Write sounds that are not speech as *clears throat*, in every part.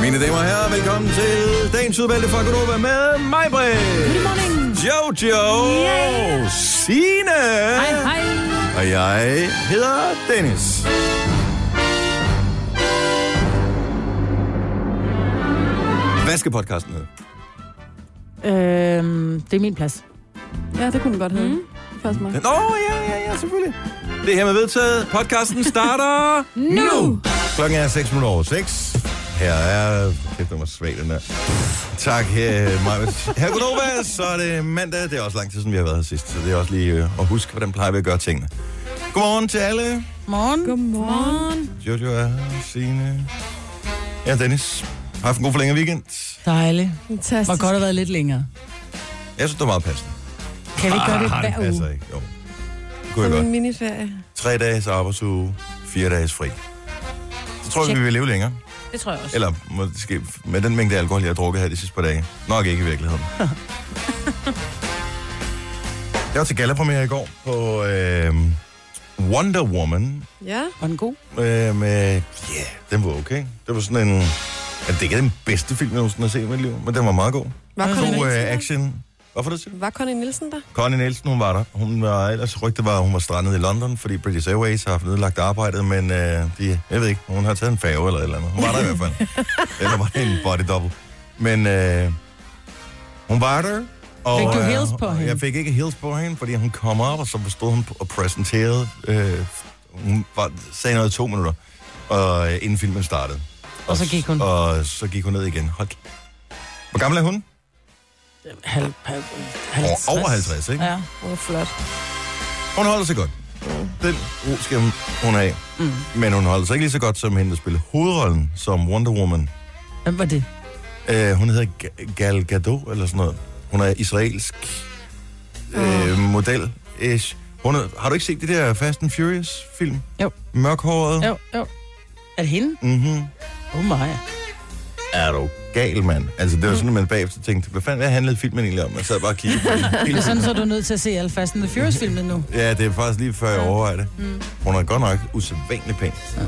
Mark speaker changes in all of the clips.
Speaker 1: Mine damer og herrer, velkommen til dagens udvalgte fra Konoba med mig, Britt. Jojo.
Speaker 2: Yeah.
Speaker 1: Signe.
Speaker 2: Hej, hej.
Speaker 1: Og jeg hedder Dennis. Hvad skal podcasten hedde?
Speaker 3: Øhm, det er min plads.
Speaker 4: Ja, det kunne den godt hedde. Mm. Først mig.
Speaker 1: Nå, ja, ja, ja, selvfølgelig. Det er hermed vedtaget. Podcasten
Speaker 3: *laughs*
Speaker 1: starter nu. Klokken er 6 minutter over 6. Her er... Kæft, den var svag, den der. Tak, her, Majvis. Her Godova, så er det mandag. Det er også lang tid, siden vi har været her sidst, så det er også lige øh, at huske, hvordan plejer vi at gøre tingene. Godmorgen til alle.
Speaker 3: Morgen.
Speaker 4: Godmorgen.
Speaker 1: Jojo er her, Signe. Ja, Dennis. Har haft en god forlænget weekend.
Speaker 3: Dejligt.
Speaker 4: Fantastisk.
Speaker 3: Må godt have været lidt længere.
Speaker 1: Jeg synes, det var meget passende.
Speaker 3: Kan vi gøre det
Speaker 1: Ah,
Speaker 3: hver
Speaker 1: passer
Speaker 3: uge?
Speaker 1: ikke. Jo. Det kunne jeg
Speaker 4: Som
Speaker 1: godt.
Speaker 4: en miniferie.
Speaker 1: Tre dages arbejdsuge, fire dages fri. Så tror jeg, vi vil leve længere.
Speaker 3: Det tror jeg også.
Speaker 1: Eller måske med den mængde alkohol, jeg har drukket her de sidste par dage. Nok ikke i virkeligheden. jeg var til gallapremiere i går på øh, Wonder Woman.
Speaker 4: Ja.
Speaker 3: Var den god?
Speaker 1: Øh, med, yeah, den var okay. Det var sådan en... Ja, det er ikke den bedste film, jeg nogensinde har set i mit liv, men den var meget god.
Speaker 4: Var Connie
Speaker 1: God
Speaker 4: Nielsen
Speaker 1: øh,
Speaker 4: der?
Speaker 1: action. Hvorfor det siger du?
Speaker 4: Var Connie Nielsen der?
Speaker 1: Connie Nielsen, hun var der. Hun var, ellers rygtet var, at hun var strandet i London, fordi British Airways har haft nedlagt arbejdet, men øh, de, jeg ved ikke, hun har taget en færge eller et eller andet. Hun var der i hvert
Speaker 3: *laughs*
Speaker 1: fald. eller var det en body double. Men øh, hun var der. Og,
Speaker 3: Fik du heels
Speaker 1: øh,
Speaker 3: på hende?
Speaker 1: Jeg fik ikke heels på hende, fordi hun kom op, og så stod hun og præsenterede. Øh, hun var, sagde noget i to minutter, og, øh, inden filmen startede.
Speaker 3: Og så gik hun.
Speaker 1: Og så gik hun ned igen. Hold. Hvor gammel er hun?
Speaker 3: Halv, halv,
Speaker 1: Over- Over 50, ikke?
Speaker 3: Ja.
Speaker 4: Åh, oh, flot.
Speaker 1: Hun holder sig godt. Den ro skal hun have. Mm. Men hun holder sig ikke lige så godt som hende, der spillede hovedrollen som Wonder Woman.
Speaker 3: Hvem var det?
Speaker 1: Uh, hun hedder Ga- Gal Gadot, eller sådan noget. Hun er israelsk
Speaker 3: Ah.
Speaker 1: uh, model. -ish. Hun er, har du ikke set det der Fast and Furious-film?
Speaker 3: Jo.
Speaker 1: Mørkhåret?
Speaker 3: Jo, jo. Er det hende?
Speaker 1: Mm-hmm.
Speaker 3: Oh my.
Speaker 1: Er du gal, mand? Altså, det var sådan, at man bagefter tænkte, hvad fanden hvad handlede filmen egentlig om? Man sad bare og kiggede på den hele
Speaker 3: Det er
Speaker 1: tiden.
Speaker 3: sådan, så du er nødt til at se alle Fast and the Furious-filmene nu.
Speaker 1: Ja, det er faktisk lige før jeg overvejer det. Mm. Hun er godt nok usædvanlig pæn. Ja.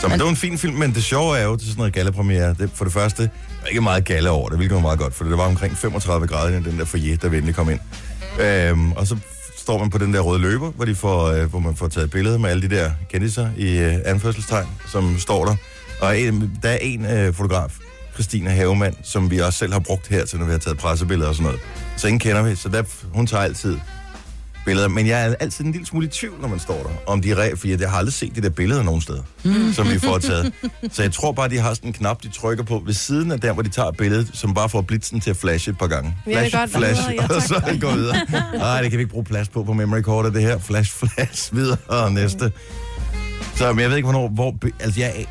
Speaker 1: Så men det var en fin film, men det sjove er jo til sådan noget gallapremiere. Det, for det første, der er ikke meget galla over det, hvilket var meget godt, for det var omkring 35 grader i den der foyer, der venlig kom ind. Øhm, og så står man på den der røde løber, hvor, de får, øh, hvor man får taget billeder med alle de der kendiser i øh, anførselstegn, som står der. Og en, der er en øh, fotograf, Christina Havemand, som vi også selv har brugt her til, når vi har taget pressebilleder og sådan noget. Så ingen kender vi, så der, hun tager altid billeder, men jeg er altid en lille smule i tvivl, når man står der, om de er re- fordi jeg har aldrig set de der billeder nogen steder, mm. som vi får taget. Så jeg tror bare, de har sådan en knap, de trykker på ved siden af der, hvor de tager billedet, som bare får blitzen til at flashe et par gange.
Speaker 4: Ja, det er
Speaker 1: Flash,
Speaker 4: godt.
Speaker 1: flash,
Speaker 4: Ja, tak.
Speaker 1: og så går videre. Nej, det kan vi ikke bruge plads på på memory card, det her. Flash, flash, videre og næste. Så men jeg ved ikke, hvornår, hvor, be- altså jeg,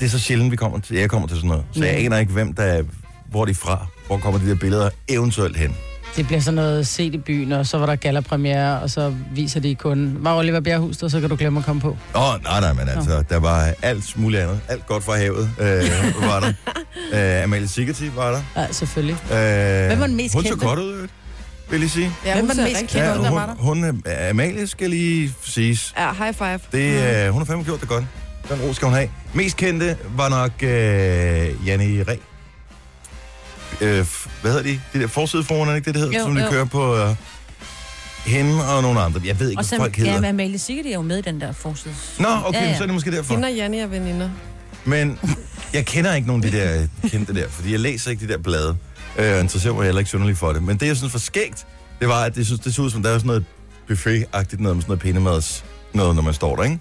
Speaker 1: det er så sjældent, vi kommer til, jeg kommer til sådan noget. Så
Speaker 4: Mm.
Speaker 1: jeg aner ikke, hvem der, er- hvor de er fra, hvor kommer de der billeder eventuelt hen.
Speaker 3: Det bliver sådan noget set i byen, og så var der gallapremiere, og så viser de kun... Var Oliver Bjerghus der, så kan du glemme at komme på.
Speaker 1: Åh, oh, nej, nej, men altså, der var alt muligt andet. Alt godt fra havet øh, var der. Øh, Amalie Sigerti var der.
Speaker 3: Ja, selvfølgelig.
Speaker 1: Øh,
Speaker 3: Hvem var den mest
Speaker 1: hun
Speaker 3: kendte?
Speaker 1: så godt ud, øh, vil jeg sige.
Speaker 4: Ja,
Speaker 3: Hvem
Speaker 4: hun
Speaker 3: var den mest
Speaker 4: ser rigtig
Speaker 3: kendte?
Speaker 4: godt ud.
Speaker 3: der
Speaker 1: hun,
Speaker 3: var der?
Speaker 1: hun, er- Amalie skal lige siges.
Speaker 4: Ja, high five.
Speaker 1: Det, øh, hun har fandme gjort det godt. Den ro skal hun have. Mest kendte var nok øh, Janne Ræ. Øh, f- hvad hedder de? Det der forside foran, er det ikke det, det hedder?
Speaker 5: Jo,
Speaker 1: som de
Speaker 5: jo.
Speaker 1: kører på øh, hende og nogle andre. Jeg ved ikke,
Speaker 5: Og
Speaker 1: hvad
Speaker 5: så
Speaker 1: folk hedder.
Speaker 5: ja, men Amalie Sikkert er jo med i den der forside.
Speaker 1: Nå, okay,
Speaker 5: Ja, ja.
Speaker 1: så er det måske derfor.
Speaker 4: Hende og Janni er veninder.
Speaker 1: Men jeg kender ikke nogen af de der kendte der, fordi jeg læser ikke de der blade. Øh, og interesserer mig heller ikke synderligt for det. Men det, jeg synes var skægt, det var, at det, synes, det så ud som, der er sådan noget buffet-agtigt noget med sådan noget pindemads noget, når man står der, ikke?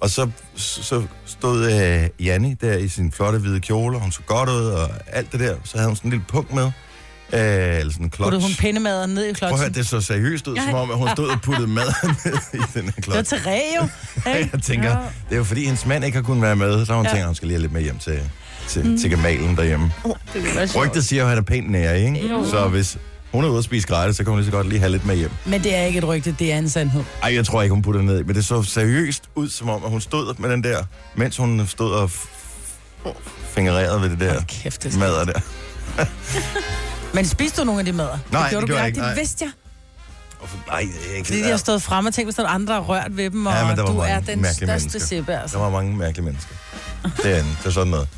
Speaker 1: Og så, så stod øh, Janni der i sin flotte hvide kjole, og hun så godt ud, og alt det der. Så havde hun sådan en lille punkt med, øh, eller sådan en klods.
Speaker 3: Puttede hun pindemaden ned i
Speaker 1: Prøv at høre,
Speaker 3: klodsen.
Speaker 1: det så seriøst ud, som om, at hun stod og puttede mad
Speaker 3: *laughs*
Speaker 1: ned i den her klods.
Speaker 3: Det var Therese
Speaker 1: *laughs*
Speaker 3: jo. ikke?
Speaker 1: Jeg tænker,
Speaker 3: Ja.
Speaker 1: det er jo fordi, hendes mand ikke har kunnet være med, så har hun ja.
Speaker 3: Ja.
Speaker 1: tænkt, at hun skal lige have lidt med hjem til, til, mm. til gemalen derhjemme.
Speaker 3: Det ville være sjovt.
Speaker 1: Rygtet siger jo, at han er pænt nær, ikke? Jo. Så hvis hun er ude at spise gratis, så kan hun lige så godt lige have lidt med hjem.
Speaker 3: Men det er ikke et rygte, det er en sandhed.
Speaker 1: Ej, jeg tror ikke, hun putter det ned, i, men det så seriøst ud, som om, at hun stod med den der, mens hun stod og f- fingererede ved det der
Speaker 3: Hold kæft, det er
Speaker 1: madder der.
Speaker 3: Men spiste du nogle af de mader?
Speaker 1: Nej,
Speaker 3: det gjorde
Speaker 1: det
Speaker 3: du
Speaker 1: gjorde jeg
Speaker 3: ikke.
Speaker 1: ikke, nej.
Speaker 3: Det vidste jeg.
Speaker 1: Og for- Nej, jeg er ikke
Speaker 3: Fordi de har stået frem og tænkt, hvis der er andre, der har rørt ved dem, og
Speaker 1: Ja, men der var
Speaker 3: du
Speaker 1: mange
Speaker 3: er den
Speaker 1: mærkelige
Speaker 3: største
Speaker 1: mennesker.
Speaker 3: sebær. Altså.
Speaker 1: Der var mange mærkelige mennesker. Det er, en- det er sådan noget.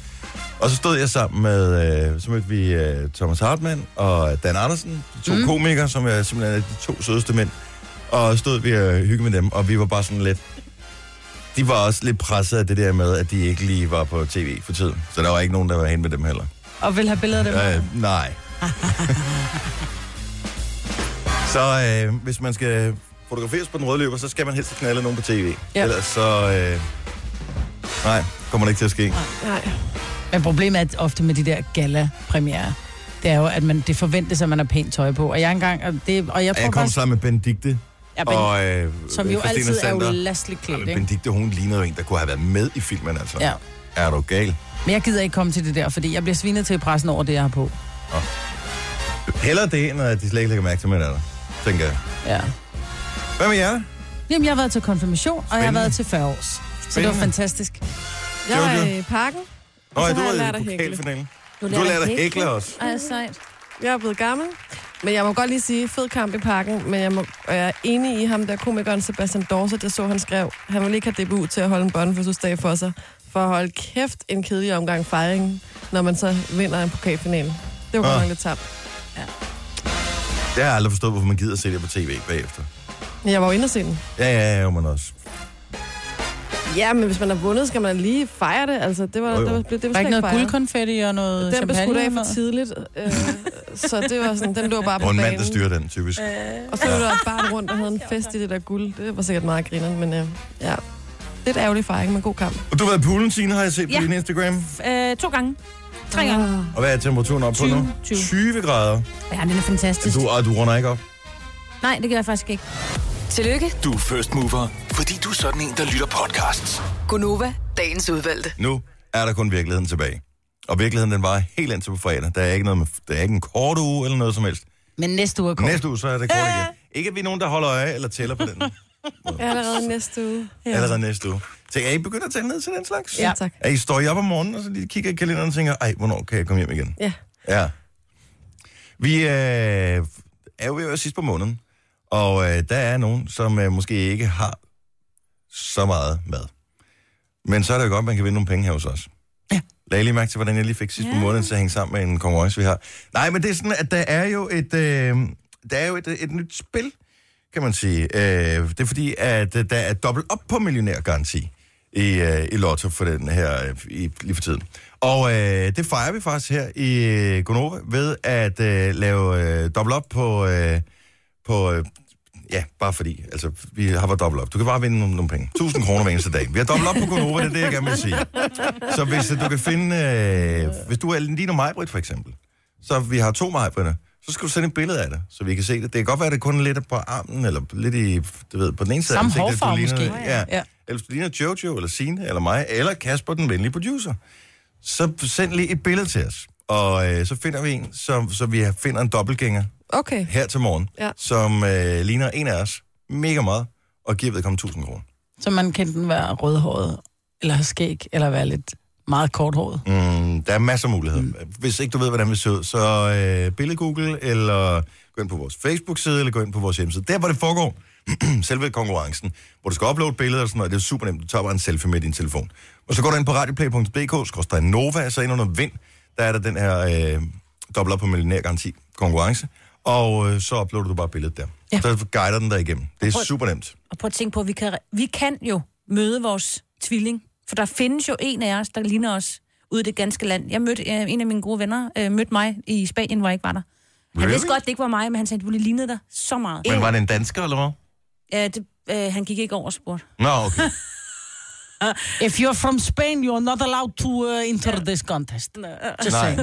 Speaker 1: Og så stod jeg sammen med, øh, så mødte vi øh, Thomas Hartmann og Dan Andersen, de to mm. komikere, som er simpelthen er de to sødeste mænd. Og stod vi og hyggede med dem, og vi var bare sådan lidt... De var også lidt presset af det der med, at de ikke lige var på tv for tiden. Så der var ikke nogen, der var hen med dem heller.
Speaker 3: Og vil have billeder af dem.
Speaker 1: Øh,
Speaker 3: *laughs*
Speaker 1: nej. så øh, hvis man skal fotograferes på den røde løber, så skal man helst have knaldet nogen på tv.
Speaker 3: Ja.
Speaker 1: Ellers så... Øh, nej, kommer det ikke til at ske.
Speaker 4: Nej.
Speaker 3: Men problemet er at ofte med de der gala-premiere, det er jo, at man, det forventes, at man har pænt tøj på. Og jeg engang, og, det, og jeg
Speaker 1: Jeg,
Speaker 3: tror
Speaker 1: jeg kom
Speaker 3: faktisk,
Speaker 1: sammen med Benedikte,
Speaker 3: ja, ben,
Speaker 1: og, øh,
Speaker 3: som jo
Speaker 1: Christina
Speaker 3: altid er
Speaker 1: Sander.
Speaker 3: ulastligt klædt,
Speaker 1: Jamen,
Speaker 3: ikke?
Speaker 1: Benedikte, hun lignede jo en, der kunne have været med i filmen, altså.
Speaker 3: Ja.
Speaker 1: Er du gal?
Speaker 3: Men jeg gider ikke komme til det der, fordi jeg bliver svinet til i pressen over det, jeg har på.
Speaker 1: Heller det, end at de slet ikke lægger mærke til, mig, der, tænker jeg.
Speaker 3: Ja.
Speaker 1: Hvad med jer?
Speaker 3: Jamen, jeg har været til konfirmation, og jeg har
Speaker 1: Spændende.
Speaker 3: været til 40 års. Så det var
Speaker 1: Spændende.
Speaker 3: fantastisk.
Speaker 4: Jeg var
Speaker 1: Jojo.
Speaker 4: i parken.
Speaker 1: Nå,
Speaker 4: Og så
Speaker 1: ja,
Speaker 4: har
Speaker 1: du
Speaker 4: jeg
Speaker 1: var
Speaker 4: lært at
Speaker 1: i
Speaker 4: hækle.
Speaker 1: pokalfinalen. Du har lært at hækle os.
Speaker 5: Ej, sejt.
Speaker 4: Jeg er blevet gammel. Men jeg må godt lige sige, fed kamp i parken, men jeg, må, og jeg er enig i ham, der komikeren Sebastian Dorset, jeg så, han skrev, han ville ikke have DBU til at holde en børnefødselsdag for sig, for at holde kæft en kedelig omgang fejringen, når man så vinder en pokalfinale. Det var
Speaker 1: Ah.
Speaker 4: godt nok lidt tabt.
Speaker 1: Det har jeg aldrig forstået, hvorfor man gider se det på tv bagefter.
Speaker 4: Men jeg var jo inde og se den.
Speaker 1: Ja, ja, ja, jo, man også.
Speaker 4: Ja, men hvis man har vundet, skal man lige fejre det. Altså, det var,
Speaker 1: Jo, jo.
Speaker 4: det var, det var, det
Speaker 3: Der
Speaker 4: var
Speaker 3: er ikke
Speaker 4: slet
Speaker 3: noget
Speaker 4: fejret.
Speaker 3: guldkonfetti og noget
Speaker 4: Den blev
Speaker 3: champagne.
Speaker 4: skudt af
Speaker 3: og
Speaker 4: for
Speaker 3: noget.
Speaker 4: tidligt, øh, så det var sådan, den lå bare på
Speaker 1: Og en
Speaker 4: banen.
Speaker 1: mand,
Speaker 4: Øh.
Speaker 1: der styrer den, typisk.
Speaker 4: Og så var der et barn rundt, der havde en fest i det der guld. Det var sikkert meget griner, men øh, ja. Lidt ærgerlig fejring, men god kamp.
Speaker 1: Og du har været i poolen, Signe, har jeg set på
Speaker 5: Ja.
Speaker 1: din Instagram.
Speaker 5: Øh, to gange. Tre gange.
Speaker 1: Og hvad er temperaturen op på nu?
Speaker 5: 20.
Speaker 1: 20 grader.
Speaker 5: Ja, den er fantastisk.
Speaker 1: Du, og du runder ikke op.
Speaker 5: Nej, det gør jeg faktisk ikke.
Speaker 2: Tillykke,
Speaker 6: Du er first mover, fordi du er sådan en, der lytter podcasts.
Speaker 2: Gunova, dagens udvalgte.
Speaker 1: Nu er der kun virkeligheden tilbage. Og virkeligheden, den var helt indtil på fredag. Der er ikke, noget med, der er ikke en kort uge eller noget som helst.
Speaker 3: Men næste uge er
Speaker 1: Kom.
Speaker 3: kort.
Speaker 1: Næste uge, så er det kort
Speaker 4: Øh.
Speaker 1: igen. Ikke, at vi er nogen, der holder øje eller tæller på
Speaker 4: *laughs*
Speaker 1: den
Speaker 4: Allerede næste uge.
Speaker 1: ja. allerede næste uge. Så er I begyndt at tælle ned til den slags?
Speaker 4: Ja, tak.
Speaker 1: Er I står I op om morgenen, og så lige kigger i kalenderen og tænker, ej, hvornår kan jeg komme hjem igen?
Speaker 4: Ja.
Speaker 1: Ja. Vi øh, er jo ved at være sidst på måneden, og øh, der er nogen, som øh, måske ikke har så meget mad. Men så er det jo godt, at man kan vinde nogle penge her hos os.
Speaker 3: Ja.
Speaker 1: Lad lige mærke til, hvordan jeg lige fik sidst på måneden til at hænge sammen med en konkurrence, vi har. Nej, men det er sådan, at der er jo et, øh, der er jo et, et nyt spil, kan man sige. Øh, det er fordi, at øh, der er dobbelt op på millionærgaranti i, øh, i Lotto for den her øh, i, lige for tiden. Og øh, det fejrer vi faktisk her i øh, Gonova ved at øh, lave øh, dobbelt op på, øh, på øh, ja, bare fordi. Altså, vi har været dobbelt op. Du kan bare vinde nogle, nogle penge. 1000 kroner hver eneste dag. Vi har dobbelt op på Gonova, det er det, jeg gerne vil sige. Så hvis øh, du kan finde... Øh, hvis du er Lino Majbrit, for eksempel, så vi har to Majbritter, så skal du sende et billede af det, så vi kan se det. Det kan godt være, at det kun er lidt på armen, eller lidt i, du ved, på den ene side. af
Speaker 3: Samme
Speaker 1: ansigtet, du
Speaker 3: hårfarve
Speaker 1: ligner-
Speaker 3: måske.
Speaker 1: Ja.
Speaker 3: Ja.
Speaker 1: ja. Eller hvis du ligner Jojo, eller Signe, eller mig, eller Kasper, den venlige producer. Så send lige et billede til os. Og øh, så finder vi en, så, så vi finder en dobbeltgænger,
Speaker 4: Okay.
Speaker 1: her til morgen, ja.
Speaker 4: Ja.
Speaker 1: som øh, ligner en af os mega meget, og giver vedkommende 1000 kroner.
Speaker 3: Så man kan den være rødhåret, eller have skæg, eller være lidt meget korthåret.
Speaker 1: Mm, der er masser af muligheder. Mm. Hvis ikke du ved, hvordan vi ser ud, så øh, billede Google, eller gå ind på vores Facebook-side, eller gå ind på vores hjemmeside. Der, hvor det foregår, *clears throat* selve konkurrencen, hvor du skal uploade billeder og sådan noget, det er super nemt. Du tager bare en selfie med din telefon. Og så går du ind på radioplay.dk, skrøster Nova, så ind under vind, der er der den her øh, dobbelt op på millionærgaranti konkurrence, og øh, så uploader du bare billedet der. Ja.
Speaker 3: Ja.
Speaker 1: Så guider den der igennem. Det er
Speaker 5: prøv-
Speaker 1: super nemt.
Speaker 5: Og prøv at tænke på, at vi kan, vi kan jo møde vores tvilling. For der findes jo en af os, der ligner os ude i det ganske land. Jeg mødte øh, en af mine gode venner, øh, mødte mig i Spanien, hvor jeg ikke var der. Han vidste godt, det ikke var mig, men han sagde, du lignede dig så meget.
Speaker 1: Men var det en dansker, eller hvad?
Speaker 5: Ja, det, øh, han gik ikke over og spurgte.
Speaker 1: Nå, okay.
Speaker 3: Mm. If you're from Spain, you're not allowed to uh, enter this contest. Just
Speaker 1: Nej.
Speaker 3: saying.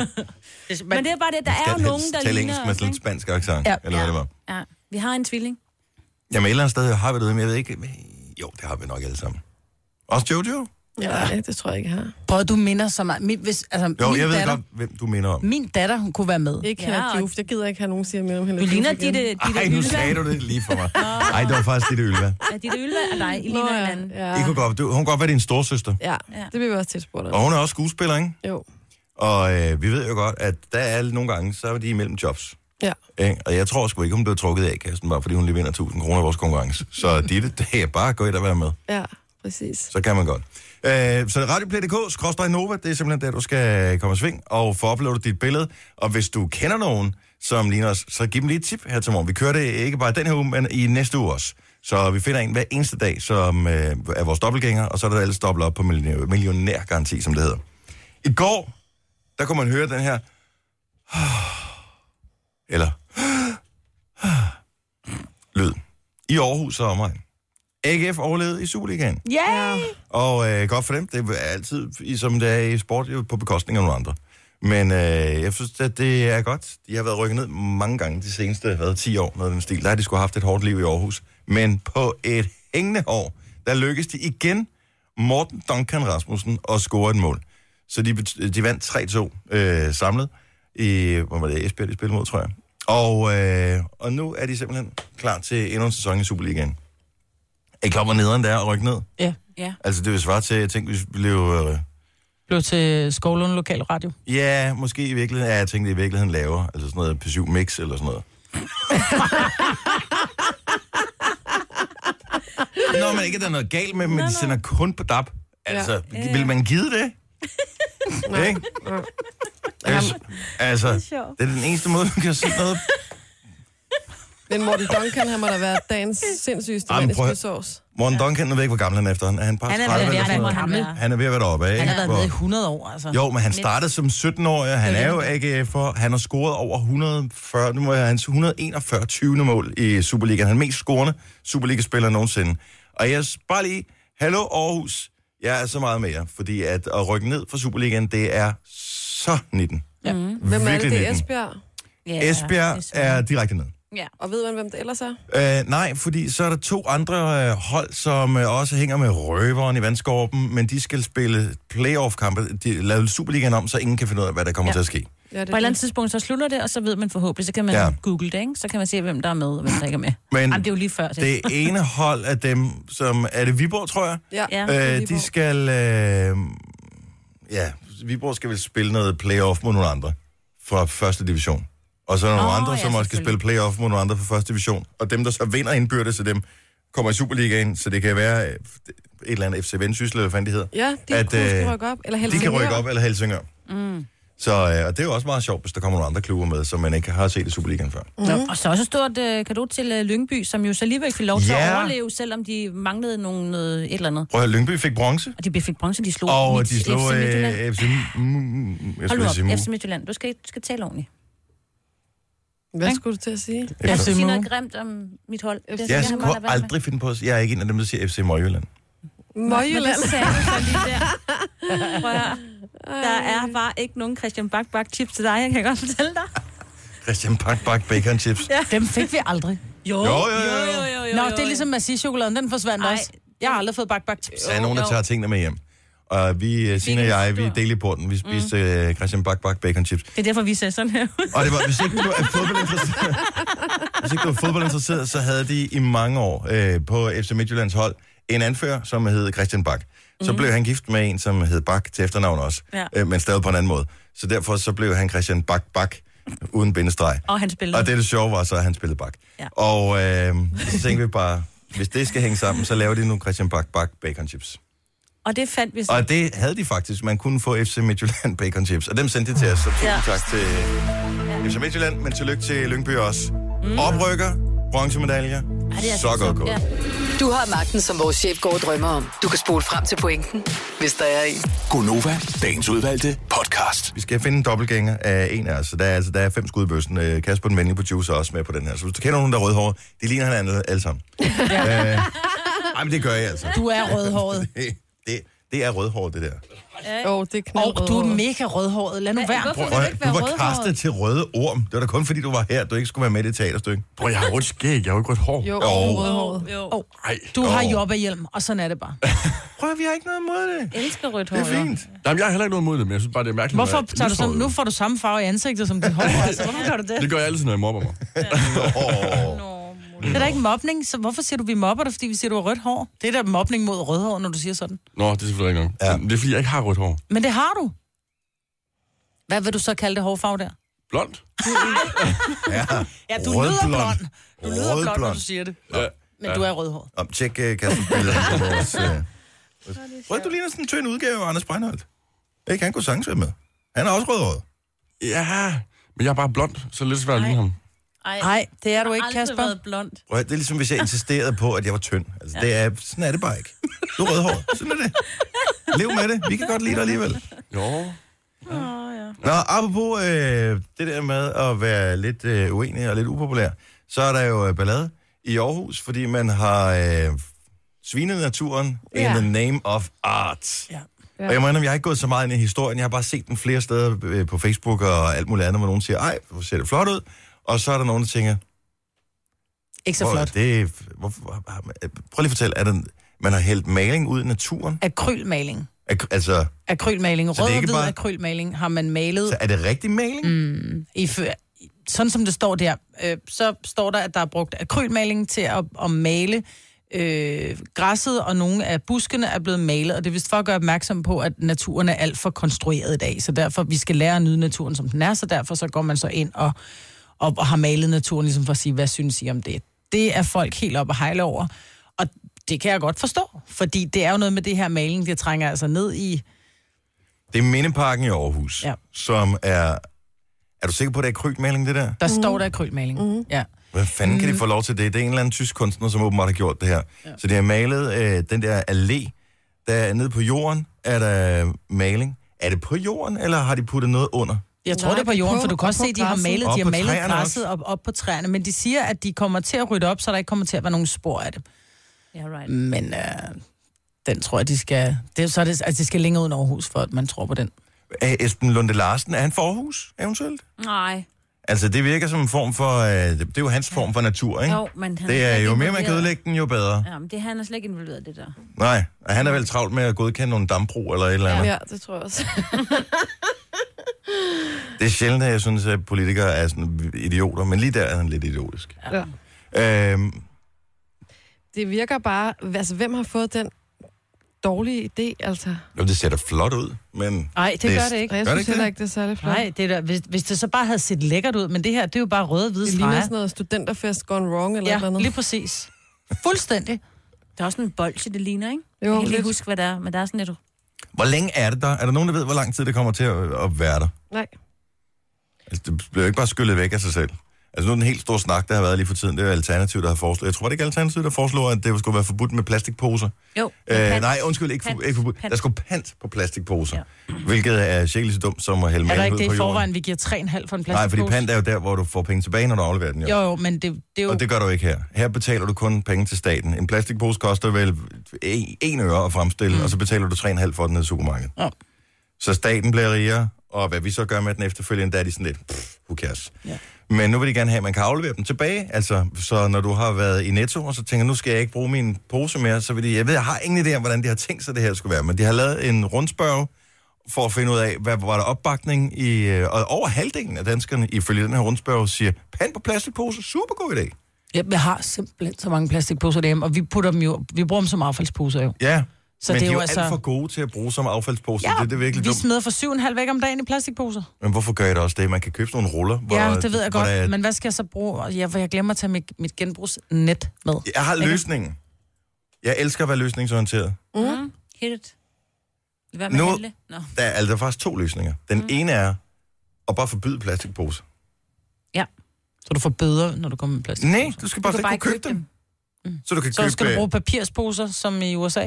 Speaker 3: Men,
Speaker 5: Men det er bare det, der er jo nogen, der
Speaker 1: Tale
Speaker 5: ligner
Speaker 1: engelsk med
Speaker 5: os.
Speaker 1: sådan en
Speaker 5: ikke?
Speaker 1: spansk accent, ja.
Speaker 3: Ja.
Speaker 1: eller hvad det var.
Speaker 5: Ja, vi har en tvilling.
Speaker 1: Jamen et eller andet sted har vi det, men jeg ved ikke... Jo, det har vi nok alle sammen. Også Jojo?
Speaker 4: Ja, det tror jeg ikke, jeg har.
Speaker 3: Prøv, du minder så meget. Min, hvis, altså,
Speaker 1: Jo,
Speaker 3: min
Speaker 1: jeg ved
Speaker 3: datter,
Speaker 1: godt, hvem du minder om.
Speaker 3: Min datter, hun kunne være med.
Speaker 4: Ikke
Speaker 5: Ja,
Speaker 4: ja, Hella
Speaker 5: og-
Speaker 4: Juf. Jeg gider ikke have nogen siger mere om Hella
Speaker 5: Du
Speaker 4: Juf
Speaker 5: ligner
Speaker 4: igen.
Speaker 5: dit, øh, dit
Speaker 1: Ej, nu sagde du det lige for mig. Ej, det var faktisk dit Ylva.
Speaker 5: Ja, dit ylva er dig. I
Speaker 4: Nå,
Speaker 5: ligner
Speaker 4: ja.
Speaker 5: hinanden.
Speaker 1: I kunne
Speaker 4: Ja.
Speaker 1: godt, du, hun kunne godt være din storsøster.
Speaker 4: ja,
Speaker 5: Ja.
Speaker 4: det bliver vi også tilspurgt om.
Speaker 1: Og hun er også skuespiller, ikke?
Speaker 4: Jo.
Speaker 1: Og øh, vi ved jo godt, at der er nogle gange, så er de imellem jobs.
Speaker 4: Ja.
Speaker 1: Ikke? Og jeg tror sgu ikke, hun *laughs* blev trukket af kassen, bare fordi hun lige vinder 1000 kroner i vores konkurrence. Så det, det er bare gå ind og være med.
Speaker 4: ja. Præcis.
Speaker 1: Så kan man godt. Øh, så radioplay.dk, skråstrej Nova, det er simpelthen der, du skal komme i sving og få uploadet dit billede. Og hvis du kender nogen, som ligner os, så giv dem lige et tip her til morgen. Vi kører det ikke bare den her uge, men i næste uge også. Så vi finder en hver eneste dag, som øh, er vores dobbeltgænger, og så er der ellers dobbelt op på millionær- millionærgaranti, som det hedder. I går, der kunne man høre den her... *sighs* Eller... *gasps* Lyd. I Aarhus og omegn. AGF overlevede i Superligaen.
Speaker 5: Yeah!
Speaker 1: Og øh, godt for dem. Det er altid, i- som det er i sport, jo på bekostning af nogle andre. Men øh, jeg synes, at det er godt. De har været rykket ned mange gange de seneste hvad, 10 år, noget af den stil. Der har de skulle have haft et hårdt liv i Aarhus. Men på et hængende år, der lykkedes de igen Morten Duncan Rasmussen at score et mål. Så de, bet- de vandt 3-2 øh, samlet i, hvor var det, Esbjerg, de spillede mod, tror jeg. Og, øh, og nu er de simpelthen klar til endnu en sæson i Superligaen. Er I klar, hvor nederen der er at rykke ned?
Speaker 3: Ja.
Speaker 5: Ja.
Speaker 1: Altså, det vil svare til, jeg tænkte, vi blev... Øh,
Speaker 3: Blev til Skovlund Lokal Radio.
Speaker 1: ja, måske i virkeligheden... Ja, jeg tænkte, i virkeligheden lavere. Altså sådan noget P7 Mix eller sådan *laughs* noget. Nå, men ikke, at der er noget galt med dem, men de sender kun på DAB. Altså, ja. vil man give *laughs* det? Ikke? Yes. Altså, det er den eneste måde, du kan se noget.
Speaker 4: Men Morten Duncan, han må da være dagens sindssygeste
Speaker 1: Ej, men
Speaker 4: mand i
Speaker 1: prøv at-
Speaker 4: skysårs.
Speaker 1: Morten Duncan, nu ved jeg ikke, hvor gammel han er efterhånden. Er han bare
Speaker 5: Han er
Speaker 1: 30
Speaker 5: ved
Speaker 1: eller
Speaker 5: at
Speaker 1: sådan
Speaker 5: være
Speaker 1: noget?
Speaker 5: der, hvor han er.
Speaker 1: Han er ved at være deroppe, ikke?
Speaker 3: Han har været med i
Speaker 1: Hvor-
Speaker 3: 100 år, altså.
Speaker 1: Jo, men han startede som 17-årig, og han er jo AGF'er. Han har scoret over 140, nu må jeg, hans 141 20. mål i Superligaen. Han er den mest scorende Superliga-spiller nogensinde. Og jeg s- bare lige, hallo Aarhus, jeg er så meget med jer, fordi at, at rykke ned fra Superligaen, det er så 19.
Speaker 3: Ja.
Speaker 4: Hvem er det?
Speaker 1: Virkelig
Speaker 4: Det er
Speaker 1: nitten.
Speaker 4: Esbjerg.
Speaker 5: Ja,
Speaker 1: Esbjerg
Speaker 5: det
Speaker 1: er direkte ned.
Speaker 4: Og ved man, hvem det ellers er?
Speaker 1: Øh, nej, fordi så er der to andre øh, hold, som øh, også hænger med røveren i vandskorpen, men de skal spille playoff-kampe. De lavede Superligaen om, så ingen kan finde ud af, hvad der kommer ja. til at ske.
Speaker 4: Ja, det
Speaker 5: På et eller andet tidspunkt, så slutter det, og så ved man forhåbentlig, så kan man
Speaker 1: Ja.
Speaker 5: ja. google det, ikke? Så kan man se, hvem der er med, og hvem der ikke er med.
Speaker 1: Men
Speaker 5: Jamen, det er jo lige før. Det.
Speaker 1: Det ene hold af dem, som... Er det Viborg, tror jeg?
Speaker 4: Ja,
Speaker 5: Ja.
Speaker 4: det er
Speaker 1: Øh, de
Speaker 4: Viborg.
Speaker 1: skal... Øh, ja, Viborg skal vel spille noget playoff mod nogle andre fra første division. Og så er der nogle
Speaker 5: Åh,
Speaker 1: andre,
Speaker 5: ja,
Speaker 1: som også skal spille
Speaker 5: selvfølgelig.
Speaker 1: playoff mod nogle andre fra første division. Og dem, der så vinder indbyrdes af dem, kommer i Superligaen, så det kan være øh, et eller andet FC Vendsyssel, eller hvad fanden de hedder.
Speaker 4: Ja, de
Speaker 1: at,
Speaker 4: at, kunne
Speaker 1: øh,
Speaker 4: rykke op. Eller
Speaker 1: De kan
Speaker 4: Helsingør.
Speaker 1: rykke op, eller Helsingør. Mm. Så øh, og det er jo også meget sjovt, hvis der kommer nogle andre klubber med, som man ikke har set i Superligaen før.
Speaker 5: Nå, og så også et stort øh, kado til øh, Lyngby, som jo så alligevel fik lov til
Speaker 1: Ja.
Speaker 5: at overleve, selvom de manglede nogle, noget, et eller andet.
Speaker 1: Prøv at høre, Lyngby fik bronze.
Speaker 5: Og de blev- fik bronze, de slog
Speaker 1: Og
Speaker 5: Midt-
Speaker 1: de slog
Speaker 5: FC Midtjylland.
Speaker 1: øh, FC... Mm, mm, jeg
Speaker 5: Hold nu
Speaker 1: skulle sige Mu.
Speaker 5: op, FC Midtjylland. Du skal, du skal tale ordentligt.
Speaker 4: Hvad skulle du til at sige?
Speaker 5: Jeg
Speaker 3: FC
Speaker 5: skal sige
Speaker 3: Mu.
Speaker 5: noget grimt om mit hold. Det skal
Speaker 1: Jeg
Speaker 5: han bare lade
Speaker 1: kunne
Speaker 5: være med.
Speaker 1: *laughs* aldrig finde på at sige, jeg er ikke en af dem, der siger FC Møjjylland.
Speaker 5: Men
Speaker 4: Møjjylland.
Speaker 5: det sagde du så lige der. Prøv at høre. Der er bare ikke nogen Christian Bak Bak chips til dig, jeg kan godt fortælle dig.
Speaker 1: Christian Bak Bak Bacon Chips. Ja.
Speaker 3: Dem fik vi aldrig. *laughs*
Speaker 5: Jo,
Speaker 1: Jo, jo, jo, jo.
Speaker 5: jo,
Speaker 3: Nå, det er ligesom Massi-chokoladen, den forsvandt
Speaker 5: Ej.
Speaker 3: også. Jeg har aldrig fået bakbak tips.
Speaker 1: Der er nogen, der tager tingene med hjem. Og vi, øh, Signe og jeg, vi delte i porten. Vi spiste
Speaker 5: Mm.
Speaker 1: øh, Christian Bak Bak Bacon Chips.
Speaker 5: Det er derfor, vi ser sådan her ud.
Speaker 1: Og det var, hvis ikke du er
Speaker 5: *laughs*
Speaker 1: fodboldinteresseret, hvis ikke du er fodboldinteresseret, så havde de i mange år øh, på FC Midtjyllands hold en anfører, som hed Christian Bak. Så blev han gift med en, som hed Bak til efternavn også,
Speaker 5: Mhm. Ja.
Speaker 1: øh, men stadig på en anden måde. Så derfor så blev han Christian Bak Bak uden bindestreg.
Speaker 5: Og han spillede.
Speaker 1: Og det, det sjove var så, at han spillede bak.
Speaker 5: Ja.
Speaker 1: Og øh, så tænkte vi bare, hvis det skal hænge sammen, så laver de nu Christian Bak Bak bacon chips.
Speaker 5: Og det fandt vi så.
Speaker 1: Og det havde de faktisk. Man kunne få FC Midtjylland *laughs* bacon chips. Og dem sendte de til os. Så tusind ja.
Speaker 5: Ja.
Speaker 1: tak til FC Midtjylland, men tillykke til Lyngby også. Mm. Oprykker, bronzemedaljer.
Speaker 5: det er
Speaker 1: så
Speaker 5: altså
Speaker 1: godt
Speaker 5: så-
Speaker 1: gået.
Speaker 5: ja.
Speaker 2: Du har magten, som vores chef går og drømmer om. Du kan spole frem til pointen, hvis der er en.
Speaker 6: Gonova, dagens udvalgte podcast.
Speaker 1: Vi skal finde en dobbeltgænger af en af os. Så der er, altså, der er fem skud i bøssen. Øh, Kasper, den venlige producer, er også med på den her. Så hvis du kender nogen, der er rødhåret, de ligner hinanden alle- alle
Speaker 5: *laughs*
Speaker 1: sammen. øh, ej, men det gør jeg altså.
Speaker 3: Du er rødhåret.
Speaker 1: *laughs* Det, det, det er rødhåret, det der.
Speaker 4: Åh, oh, det er knap
Speaker 3: Og du er mega rødhåret. Lad nu være.
Speaker 5: hvorfor-
Speaker 1: Prøv,
Speaker 5: Kunne
Speaker 1: at- du var kastet til Røde Orm. Det var da kun fordi, du var her, du ikke skulle være med i det teaterstykke.
Speaker 7: Prøv, jeg har rødt skæg, jeg har jo ikke rødt hår.
Speaker 4: Jo,
Speaker 1: Jo.
Speaker 4: oh. rødhåret.
Speaker 5: Jo,
Speaker 3: Åh,
Speaker 7: Nej.
Speaker 3: Du har
Speaker 1: Åh.
Speaker 3: jobbehjelm, og sådan er det bare.
Speaker 1: Prøv, vi har ikke noget imod det.
Speaker 5: jeg elsker rødt hår.
Speaker 1: Det er fint.
Speaker 7: Jamen, jeg har heller ikke noget imod det, men jeg synes bare, det er mærkeligt.
Speaker 3: Hvorfor
Speaker 1: øh,
Speaker 7: når jeg-
Speaker 3: tager du sådan,
Speaker 7: lyshåret.
Speaker 3: nu får du samme farve i ansigtet som
Speaker 1: *laughs*
Speaker 3: dit hår, altså. Hvorfor gør du det?
Speaker 7: Det gør jeg altid, når jeg mobber mig.
Speaker 3: *laughs*
Speaker 1: Oh.
Speaker 3: Det er da ikke mobning, så hvorfor siger du, vi mobber dig, fordi vi siger, du har rødt hår? Det er da mobning mod rødhår, når du siger sådan.
Speaker 7: Nå, det er selvfølgelig ikke nok.
Speaker 1: Ja.
Speaker 7: Ja. Det er fordi, jeg ikke har rødt hår.
Speaker 3: Men det har du. Hvad vil du så kalde det hårfarve der?
Speaker 7: Blond?
Speaker 1: Ja.
Speaker 3: Ja, du
Speaker 1: Rødblond.
Speaker 3: lyder blond. Du lyder blond, når
Speaker 1: Rødblond.
Speaker 3: du siger det.
Speaker 7: Ja.
Speaker 3: Men du er rødhåret. *laughs*
Speaker 1: Om, tjek uh, Kasper Billeder øh, på vores... Uh... Hvordan du ligner sådan en tynd udgave af Anders Breinholt? Ikke, han kunne sagtens være med. Han er også rødhåret.
Speaker 7: Ja, men jeg er bare blond, så lidt svært at ligne ham.
Speaker 5: Ej,
Speaker 8: Nej, det er du ikke,
Speaker 5: aldrig
Speaker 8: Kasper.
Speaker 5: været blond.
Speaker 1: Prøv at- Det er ligesom, hvis jeg insisterede på, at jeg var tynd. Altså, ja. det er, sådan er det bare ikke. Du er rødhåret. Sådan er det. Lev med det. Vi kan godt lide dig alligevel.
Speaker 7: Jo.
Speaker 1: Nå, apropos øh, det der med at være lidt øh, uenig og lidt upopulær, så er der jo øh, ballade i Aarhus, fordi man har øh, svinet naturen ja.
Speaker 4: Ja.
Speaker 1: in the name of art. Ja. Ja. Og jeg mener, jeg har ikke gået så meget ind i historien. Jeg har bare set den flere steder øh, på Facebook og alt muligt andet, hvor nogen siger, ej, hvor ser det flot ud. Og så er der nogen, der tænker,
Speaker 8: Ikke så
Speaker 1: hvor er
Speaker 8: flot.
Speaker 1: det, hvorfor, hvor, har man- øh, prøv lige at fortælle, er den, man har hældt maling ud i naturen?
Speaker 8: Akrylmaling.
Speaker 1: Er, altså,
Speaker 8: Akrylmaling.
Speaker 1: Så det er
Speaker 8: Rød og
Speaker 1: ikke
Speaker 8: hvid
Speaker 1: bare-
Speaker 8: akrylmaling har man malet
Speaker 1: så er det rigtig maling? Mm.
Speaker 8: i fø- sådan som det står der, øh, så står der, at der er brugt akrylmaling til at, at male øh, græsset, og nogle af buskene er blevet malet, og det er vist for at gøre opmærksom på, at naturen er alt for konstrueret i dag, så derfor, vi skal lære at nyde naturen, som den er, så derfor så går man så ind og, og, og har malet naturen, ligesom for at sige, hvad synes I om det? Det er folk helt op og hejle over, og det kan jeg godt forstå, fordi det er jo noget med det her maling, det trænger altså ned i...
Speaker 1: Det er Mindeparken i Aarhus, ja.
Speaker 8: Ja.
Speaker 1: som er... Er du sikker på, at det er krybmaling, det der?
Speaker 8: Der mm. står der akrylmaling. Mm. Ja.
Speaker 1: Hvad fanden mm. kan de få lov til det? Det er en eller anden tysk kunstner, som åbenbart har gjort det her. Ja. Så de har malet øh, den der allé, der er nede på jorden, er der maling. Er det på jorden, eller har de puttet noget under?
Speaker 8: Jeg tror,
Speaker 4: Nej,
Speaker 8: Nej, det er på
Speaker 4: det er
Speaker 8: jorden,
Speaker 4: på-
Speaker 8: for du kan også
Speaker 4: og
Speaker 8: se,
Speaker 4: på
Speaker 8: at de har
Speaker 4: græsset.
Speaker 8: malet,
Speaker 1: Og
Speaker 8: de
Speaker 1: på
Speaker 8: har malet
Speaker 1: træerne
Speaker 8: græsset op, op på træerne, men de siger, at de kommer til at rydde op, så der ikke kommer til at være nogen spor af det.
Speaker 5: Ja, right.
Speaker 1: Mm.
Speaker 8: Men øh, den tror jeg, de skal... Det, er så er det, altså, de skal længere ud end Aarhus, for at man tror på den.
Speaker 1: Er Esben Lunde Larsen, er han forhus eventuelt?
Speaker 5: Nej.
Speaker 1: Altså, det virker som en form for... Øh, det er jo hans form for natur, ikke?
Speaker 5: Jo, men han
Speaker 1: Det er
Speaker 5: slet
Speaker 1: jo
Speaker 5: ikke
Speaker 1: mere, man kan
Speaker 5: involveret.
Speaker 1: ødelægge den, jo bedre.
Speaker 5: Ja, men det, han er slet ikke involveret i det der.
Speaker 1: Nej, og han er vel travlt med at godkende nogle dambro eller et eller andet.
Speaker 4: Ja, det tror jeg også.
Speaker 1: Det er sjældent, at jeg synes, at politikere er sådan idioter, men lige der er han lidt idiotisk.
Speaker 4: Ja.
Speaker 1: Øhm,
Speaker 4: *laughs* Det virker bare... Altså, hvem har fået den dårlige idé, altså?
Speaker 1: jo, det ser da flot ud, men...
Speaker 8: Nej, det,
Speaker 1: Det-
Speaker 8: det gør det ikke.
Speaker 4: Og jeg
Speaker 1: Gør det
Speaker 4: synes
Speaker 1: ikke
Speaker 4: heller
Speaker 1: det?
Speaker 4: ikke, det er særlig flot.
Speaker 8: Nej, det er da, hvis, hvis det så bare havde set lækkert ud, men det her, det er jo bare røde og hvide
Speaker 4: Det ligner
Speaker 8: streger.
Speaker 4: sådan noget studenterfest gone wrong eller ja, noget
Speaker 8: Ja,
Speaker 4: andet.
Speaker 8: lige præcis. Fuldstændig.
Speaker 5: Der er også en bolse, det ligner, ikke?
Speaker 4: Jo,
Speaker 5: jeg kan ikke lige
Speaker 4: lidt.
Speaker 5: huske, hvad der er, men der er sådan et...
Speaker 1: Hvor længe er det der? Er der nogen, der ved, hvor lang tid det kommer til at, at være der?
Speaker 4: Nej.
Speaker 1: Altså, det bliver jo ikke bare skyllet væk af sig selv. Altså nu er den helt store snak, der har været lige for tiden, det er jo Alternativet, der har foreslået. Jeg tror, var det ikke Alternativet, der foreslår, at det skulle være forbudt med plastikposer.
Speaker 5: Jo,
Speaker 1: Øh,
Speaker 5: pant.
Speaker 1: nej, undskyld, ikke, for,
Speaker 5: Pant.
Speaker 1: ikke forbudt.
Speaker 5: Pant.
Speaker 1: Der skulle pant på plastikposer, ja. hvilket er cirka lige så dumt som at hælde
Speaker 8: Er der
Speaker 1: maling
Speaker 8: ikke
Speaker 1: ud på
Speaker 8: det i
Speaker 1: jorden.
Speaker 8: forvejen, vi giver 3,5 for en plastikpose?
Speaker 1: Nej, fordi pant er jo der, hvor du får penge tilbage, når du afleverer den. Jo.
Speaker 8: Jo, jo, men det, det er jo...
Speaker 1: Og det gør du ikke her. Her betaler du kun penge til staten. En plastikpose koster vel 1 øre at fremstille, mm. og så betaler du 3,5 for den nede i supermarkedet.
Speaker 8: Ja.
Speaker 1: Så staten bliver rigere, og hvad vi så gør med den efterfølgende, der er de sådan lidt, pff, who cares. Ja. Men nu vil de gerne have, at man kan aflevere dem tilbage. Altså, så når du har været i Netto, og så tænker, nu skal jeg ikke bruge min pose mere, så vil de, jeg ved, jeg har ingen idé om, hvordan de har tænkt sig, det her skulle være, men de har lavet en rundspørg, for at finde ud af, hvad var der opbakning i... øh, Og over halvdelen af danskerne, ifølge den her rundspørg, siger, pand på plastikpose, super god idé.
Speaker 8: Ja, jeg har simpelthen så mange plastikposer derhjemme, og vi, putter dem jo, vi bruger dem som affaldsposer jo.
Speaker 1: Ja,
Speaker 8: Så
Speaker 1: men de er
Speaker 8: det er
Speaker 1: jo
Speaker 8: jo
Speaker 1: altså...
Speaker 8: altså-
Speaker 1: alt for gode til at bruge som affaldspose. Ja, det, er det er virkelig
Speaker 8: vi
Speaker 1: dumt.
Speaker 8: smider for 7,5 væk om dagen i plastikposer.
Speaker 1: Men hvorfor gør I det også det? Man kan købe sådan nogle ruller. Hvor,
Speaker 8: ja, det ved jeg
Speaker 1: hvor
Speaker 8: godt.
Speaker 1: der er-
Speaker 8: Men hvad skal jeg så bruge? Ja, for jeg glemmer at tage mit, mit genbrugsnet med.
Speaker 1: Jeg har løsningen. Jeg elsker at være løsningsorienteret.
Speaker 5: Mm. Hit it. Hvad med
Speaker 1: Nu-
Speaker 5: nu... handle? Nå.
Speaker 1: Der er, altså, der er faktisk to løsninger. Den mm. ene er at bare forbyde plastikposer.
Speaker 8: Så du får bøder, når du kommer med plastik.
Speaker 1: Nej, øh, du skal bare
Speaker 5: Du
Speaker 1: slet
Speaker 5: kan bare
Speaker 1: ikke
Speaker 5: ikke
Speaker 1: kunne købe
Speaker 5: købe
Speaker 1: dem. Så du kan
Speaker 8: Så
Speaker 1: købe...
Speaker 8: skal du bruge papirsposer, som i USA.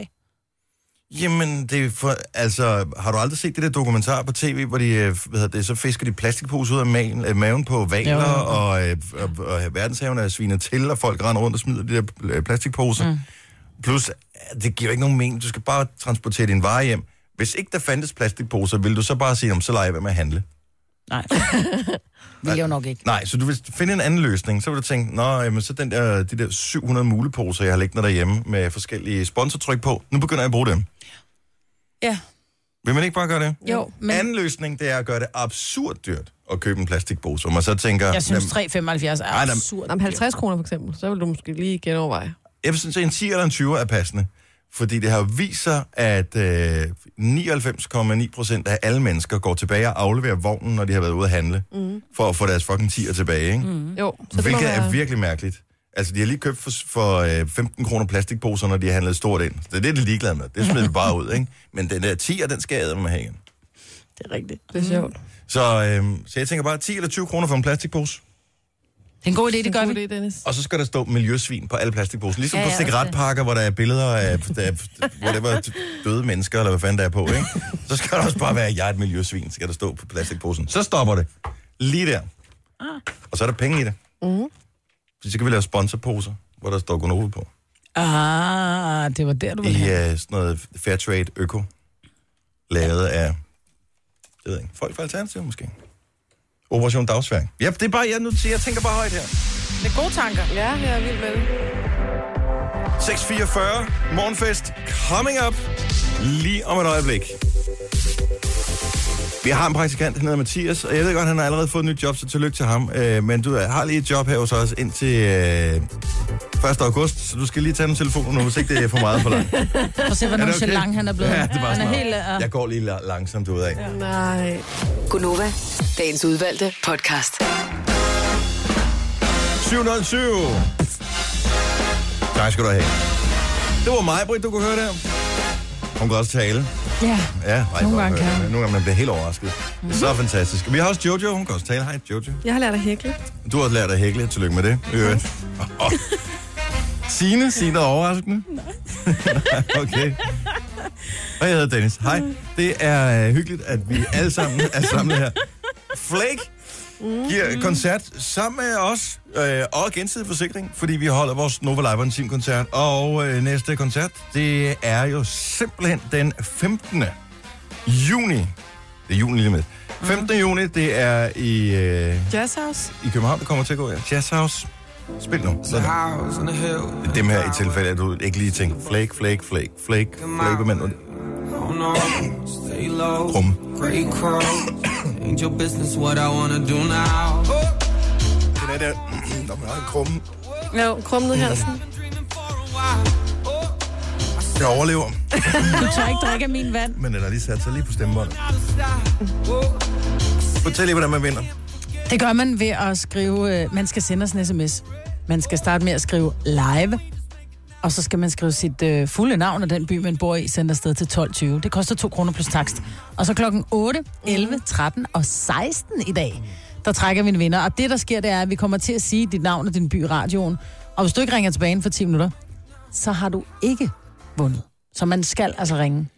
Speaker 1: Jamen, det er for, altså, har du aldrig set det der dokumentar på tv, hvor de, øh, hvad hedder det, så fisker de plastikpose ud af maven, øh, maven på valer,
Speaker 8: Jo, jo, jo.
Speaker 1: og, øh, og, og verdenshavene er svinet til, og folk render rundt og smider de der øh, plastikposer. Mm. Plus, øh, det giver ikke nogen mening. Du skal bare transportere din vare hjem. Hvis ikke der fandtes plastikposer, ville du så bare sige, om så leger jeg være med at handle. *laughs*
Speaker 8: Nej. vi jo nok ikke.
Speaker 1: Nej, så du vil finde en anden løsning. Så vil du tænke, nå, jamen, så den der, de der 700 muleposer, jeg har liggende derhjemme med forskellige sponsortryk på, nu begynder jeg at bruge dem.
Speaker 8: Ja.
Speaker 1: Vil man ikke bare gøre det?
Speaker 8: Jo,
Speaker 1: Men... Anden løsning, det er at gøre det absurd dyrt at købe en plastikpose, og man så tænker...
Speaker 8: jeg synes
Speaker 1: jamen,
Speaker 8: 3,75 er
Speaker 1: nej.
Speaker 8: absurd.
Speaker 4: Om 50 kroner for eksempel, så vil du måske lige genoverveje.
Speaker 1: jeg synes, at en 10 eller en 20 er passende. Fordi det har jo vist sig, at øh, 99,9 procent af alle mennesker går tilbage og afleverer vognen, når de har været ude at handle, mm. for at få deres fucking 10'er tilbage. Ikke? Mm.
Speaker 4: Jo, så det må
Speaker 1: Hvilket
Speaker 4: være...
Speaker 1: er virkelig mærkeligt. Altså, de har lige købt for, for øh, 15 kroner plastikposer, når de har handlet stort ind. Så det er det, de er ligeglade med. Det smider vi bare ud, ikke? Men den der 10'er, den skal jeg med have igen.
Speaker 8: Det er rigtigt.
Speaker 4: Det er Mm. sjovt.
Speaker 1: Så, øh, så jeg tænker bare 10 eller 20 kroner for en plastikpose.
Speaker 8: Det er en god idé, det gør vi.
Speaker 4: Det, Dennis.
Speaker 1: Og så skal der stå miljøsvin på alle plastikposer. Ligesom
Speaker 5: Ja,
Speaker 1: ja, på
Speaker 5: ja, også
Speaker 1: cigaretpakker, hvor der er billeder af der er, whatever, døde mennesker, eller hvad fanden der er på, ikke? Så skal der også bare være, jeg er et miljøsvin, skal der stå på plastikposen. Så stopper det. Lige der.
Speaker 5: Ah.
Speaker 1: Og så er der penge i det. Mm.
Speaker 5: Mhm.
Speaker 1: Så kan vi lave sponsorposer, hvor der står Gonova på.
Speaker 8: Ah, det var der, du ville
Speaker 1: I
Speaker 8: have.
Speaker 1: øh, sådan noget Fairtrade Øko, lavet af, jeg ved ikke, folk fra Alternativet måske. Operation Dagsværk. Ja, det er bare, jeg, nu, jeg tænker bare højt her.
Speaker 8: Det er gode tanker.
Speaker 4: Ja, jeg er vild med det.
Speaker 1: 6.44, morgenfest, coming up, lige om et øjeblik. Vi har en praktikant, han hedder Mathias, og jeg ved godt, han har allerede fået et nyt job, så tillykke til ham. Øh, men du øh, har lige et job her hos os indtil øh, 1. august, så du skal lige tage den telefon nu, hvis ikke det er for meget for
Speaker 8: *laughs*
Speaker 1: langt.
Speaker 8: Prøv at se, hvor
Speaker 1: Er
Speaker 8: nogen
Speaker 1: det
Speaker 8: så
Speaker 1: okay?
Speaker 8: lang han er blevet.
Speaker 1: Ja, det var
Speaker 8: han
Speaker 1: sådan
Speaker 8: er
Speaker 1: noget.
Speaker 8: helt... Uh...
Speaker 1: Jeg går lige la- langsomt ud af.
Speaker 4: Nej.
Speaker 2: Gunova, dagens udvalgte podcast.
Speaker 1: 707. Tak skal du have. Det var mig, Britt, du kunne høre der. Hun kan også tale.
Speaker 8: Ja.
Speaker 1: Ja, ej,
Speaker 8: Nogle
Speaker 1: hvor-
Speaker 8: gange kan
Speaker 1: øh,
Speaker 8: hun. Mhm.
Speaker 1: Nogle gange man bliver helt overrasket. Mm. Det er så fantastisk. Og Vi har også Jojo, hun kan også tale. Hej Jojo.
Speaker 4: Jeg har lært at hækle.
Speaker 1: Du har også lært at hækle. Tillykke med det. Okay. Signe, Signe er overraskende. Nej. *laughs* okay. Og jeg hedder Dennis. Hej. Det er øh, hyggeligt, at vi alle sammen er samlet her. Flake giver koncert sammen med os øh, og gensidig forsikring, fordi vi holder vores Nova Live Team koncert. Og øh, næste koncert, det er jo simpelthen den 15. juni. Det er juni lige med. 15. juni, det er i... Øh,
Speaker 4: Jazz House.
Speaker 1: i København, det kommer til at gå, ja. Jazz House. Spil nu. Sådan. Det er dem her i tilfælde, at du ikke lige tænker, flake, flake, flake, flake, flake, men rum. Det er der, når man har en krumme,
Speaker 4: Jo, krum ned i halsen.
Speaker 1: der overlever,
Speaker 8: Du tør ikke drikke af min vand.
Speaker 1: men den har lige sat sig lige på stemmebåndet. Fortæl lige, hvordan man vinder.
Speaker 8: Det gør man ved at skrive... Øh, man skal sende os en sms. Man skal starte med at skrive live. Og så skal man skrive sit øh, fulde navn og den by, man bor i, sendt afsted til 12.20. Det koster 2 kroner plus takst. Og så klokken 8, 11, 13 og 16 i dag, der trækker vi en vinder. Og det, der sker, det er, at vi kommer til at sige dit navn og din by i radioen. Og hvis du ikke ringer tilbage inden for 10 minutter, så har du ikke vundet. Så man skal altså ringe.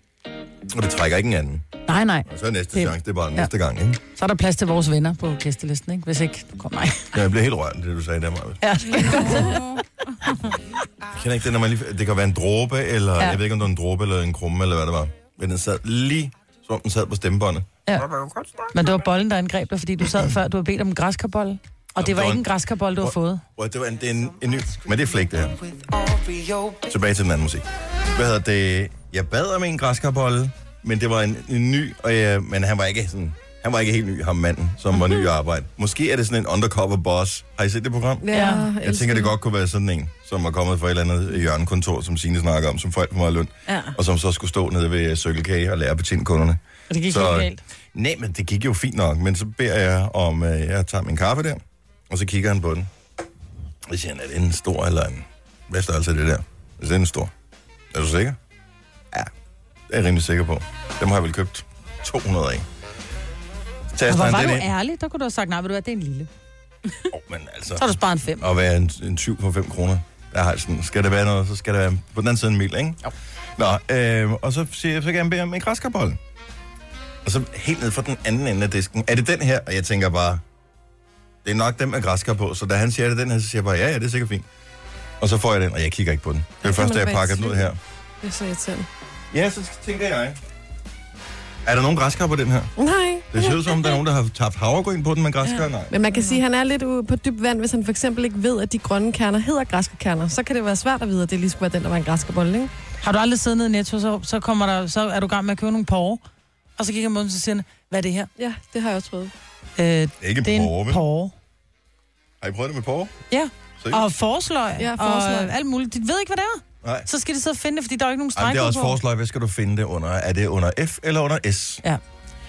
Speaker 1: Og det trækker ikke en anden.
Speaker 8: Nej, nej.
Speaker 1: Og så er næste
Speaker 8: Det-
Speaker 1: chance, det er bare næste gang, ikke?
Speaker 8: Så er der plads til vores venner på gæstelisten, ikke? Hvis ikke, du kommer mig.
Speaker 1: Ja, jeg bliver helt rørt, det du sagde der, Maja.
Speaker 8: Ja.
Speaker 1: Jeg kender ikke det, når man lige... Det kan være en dråbe, eller...
Speaker 8: Ja.
Speaker 1: Jeg ved ikke, om det var en dråbe eller en krumme, eller hvad det var. Men den sad lige, som om den sad på stemmebåndet.
Speaker 8: Men det var bolden, der angreb dig, fordi du sad før, du havde bedt om en græskarbolle. Og det
Speaker 1: der var
Speaker 8: var ikke
Speaker 1: en-
Speaker 8: en græskarbolle, du har fået.
Speaker 1: Hvor Altså, det var en, det er en, en ny... Men det er flæk, det her. Tilbage til den anden musik. Hvad hedder det? Jeg bad om en græskarbolle, men det var en, en ny... Og jeg, men han var ikke sådan... Han var ikke helt ny, ham manden, som var ny i arbejde. Måske er det sådan en undercover boss. Har I set det program?
Speaker 4: Ja,
Speaker 1: Jeg tænker, det godt kunne være sådan en, som var kommet fra et eller andet hjørnekontor, som Signe snakker om, som får alt for meget løn,
Speaker 5: Ja.
Speaker 1: og som så skulle stå nede ved øh, Circle K og lære at betjene kunderne.
Speaker 8: Og det gik
Speaker 1: Så-
Speaker 8: helt galt.
Speaker 1: Nej, men det gik jo fint nok, men så beder jeg om, øh, jeg tager min kaffe der, og så kigger han på den. Og så siger han, er det en stor eller en... Hvad størrelse er det der? Hvis det er en stor. Er du sikker? Ja, det er jeg rimelig sikker på. Dem har jeg vel købt 200 af. Så tager
Speaker 8: Og
Speaker 1: jeg
Speaker 8: hvor var
Speaker 1: sådan
Speaker 8: du
Speaker 1: den ind.
Speaker 8: ærlig, der kunne du have sagt, nej, ved du hvad, det er en lille.
Speaker 1: Åh, men altså...
Speaker 8: Så har du sparet en fem.
Speaker 1: at være en, en tyv for 5 kroner. Der har jeg sådan, skal det være noget, så skal det være på den anden side en mil, ikke? Jo. Nå, øh, og så siger jeg, så kan jeg bede om en græskarbolle. Og så helt ned fra den anden ende af disken, er det den her? Og jeg tænker bare, det er nok dem med græskar på. Så da han siger, er det den her, så siger jeg bare, ja, ja, det er sikkert fint. Og så får jeg den, og jeg kigger ikke på den. Det er
Speaker 4: kan
Speaker 1: det første,
Speaker 4: man
Speaker 1: jeg
Speaker 4: være i
Speaker 1: pakker den ud
Speaker 4: tvivl.
Speaker 1: her.
Speaker 4: Det er så irriterende.
Speaker 1: Ja, så tænker jeg, er der nogen græskar på den her?
Speaker 4: Nej.
Speaker 1: Det ser ud som, om der er nogen, der har tabt havregryn på den med græskar. Nej.
Speaker 4: Men man kan sige, at han er lidt ude på dyb vand, hvis han for eksempel ikke ved, at de grønne kerner hedder græskerkerner. Så kan det være svært at vide, at det lige skulle være den, der var en græskerbolle, ikke?
Speaker 8: Har du aldrig siddet nede i Netto, så, så, kommer der, så er du i gang med at købe nogle porre. Og så kigger man på den, så siger han, hvad er det her?
Speaker 4: Ja, det har jeg også prøvet.
Speaker 8: Øh, det
Speaker 1: Ikke
Speaker 8: er en
Speaker 1: porre, vel?
Speaker 8: porre.
Speaker 1: Har I prøvet det med porre?
Speaker 8: Ja,
Speaker 1: Seriøst?
Speaker 8: og forsløg,
Speaker 4: Ja,
Speaker 8: og
Speaker 4: forsløg.
Speaker 8: alt muligt. De ved ikke, hvad det er.
Speaker 1: Nej.
Speaker 8: Så skal de sidde og finde det, fordi der er ikke nogen
Speaker 1: Jamen,
Speaker 8: streg
Speaker 1: det er også
Speaker 8: på.
Speaker 1: forslag. Hvad skal du finde det under? Er det under F eller under S?
Speaker 8: Ja.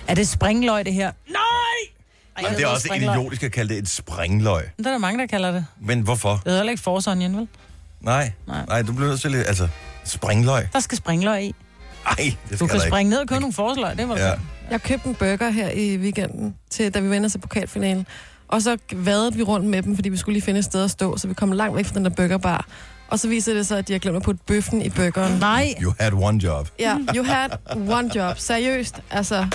Speaker 8: Er det springløg, det her? Nej!
Speaker 1: Ej, det er også idiotisk at kalde det et springløg.
Speaker 8: Men der er der mange, der kalder det.
Speaker 1: Men hvorfor?
Speaker 8: Det hedder heller ikke Force Onion, vel?
Speaker 1: Nej, nej,
Speaker 8: Nej.
Speaker 1: nej du bliver nødt til at... Altså, springløg?
Speaker 8: Der skal springløg i.
Speaker 1: Ej, det skal
Speaker 8: Du kan
Speaker 1: der
Speaker 8: springe ned og købe nogle forsløg, det var
Speaker 1: ikke.
Speaker 8: ja.
Speaker 1: Ja.
Speaker 4: Jeg købte en burger her i weekenden, til, da vi vender til pokalfinalen. Og så vadede vi rundt med dem, fordi vi skulle lige finde et sted at stå, så vi kom langt væk fra den der burgerbar. Og så viser det sig, at de har glemt at putte bøffen i burgeren.
Speaker 8: Nej,
Speaker 1: You had one job.
Speaker 4: Ja, you had one job. Seriøst, altså...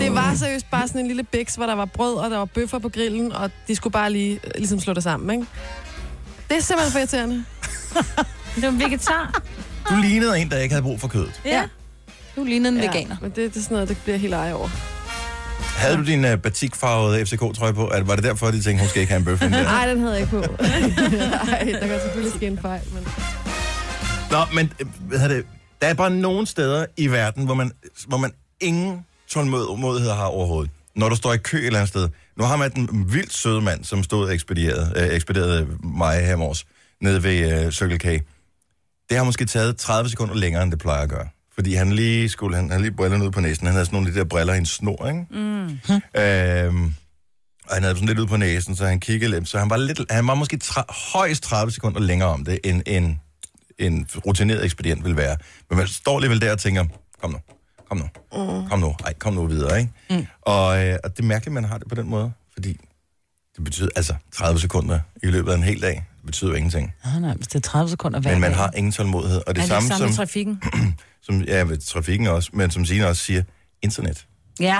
Speaker 4: Det var seriøst bare sådan en lille biks, hvor der var brød, og der var bøffer på grillen, og de skulle bare lige øh, ligesom slå det sammen, ikke? Det er simpelthen for irriterende.
Speaker 5: Det er en vegetar.
Speaker 1: Du lignede en, der ikke havde brug for kødet.
Speaker 5: ja. Du ligner en ja.
Speaker 4: Ja,
Speaker 5: veganer.
Speaker 4: Men det, det er sådan noget, det bliver helt ej over.
Speaker 1: Havde du din uh, batikfarvede FCK-trøje på? At, var det derfor, de tænkte, hun skal ikke have en bøf? hende der?
Speaker 4: Nej, den havde jeg ikke på. *laughs* Nej, der kan selvfølgelig ske en fejl, men...
Speaker 1: Nå, men øh, hvad hedder det? Der er bare nogle steder i verden, hvor man, hvor man ingen tålmodighed har overhovedet. Når du står i kø et eller andet sted. Nu har man den vildt søde mand, som stod og ekspederede, øh, ekspederede mig her i morges, nede ved øh, Circle K. Det har måske taget 30 sekunder længere, end det plejer at gøre. Fordi han lige skulle, han, han havde lige brillerne ud på næsen. Han havde sådan nogle af de der briller i en snor, ikke? Mm. Øhm, og han havde sådan lidt ud på næsen, så han kiggede lidt. Så han var, lidt, han var måske tra- højst 30 sekunder længere om det, end, end en rutineret ekspedient vil være. Men man står alligevel der og tænker, kom nu, kom nu, kom nu, ej, kom nu videre, ikke? Mm. Og, øh, og det er mærkeligt, man har det på den måde, fordi det betyder, altså 30 sekunder i løbet af en hel dag, det betyder jo ingenting.
Speaker 8: nej, nej, hvis det er 30 sekunder hver
Speaker 1: Men man
Speaker 8: dag.
Speaker 1: har ingen tålmodighed. Og det,
Speaker 5: Er
Speaker 1: er samme,
Speaker 5: det ikke samme i
Speaker 1: som,
Speaker 5: trafikken?
Speaker 1: som ja, ved trafikken også, men som Signe også siger, internet.
Speaker 5: Ja.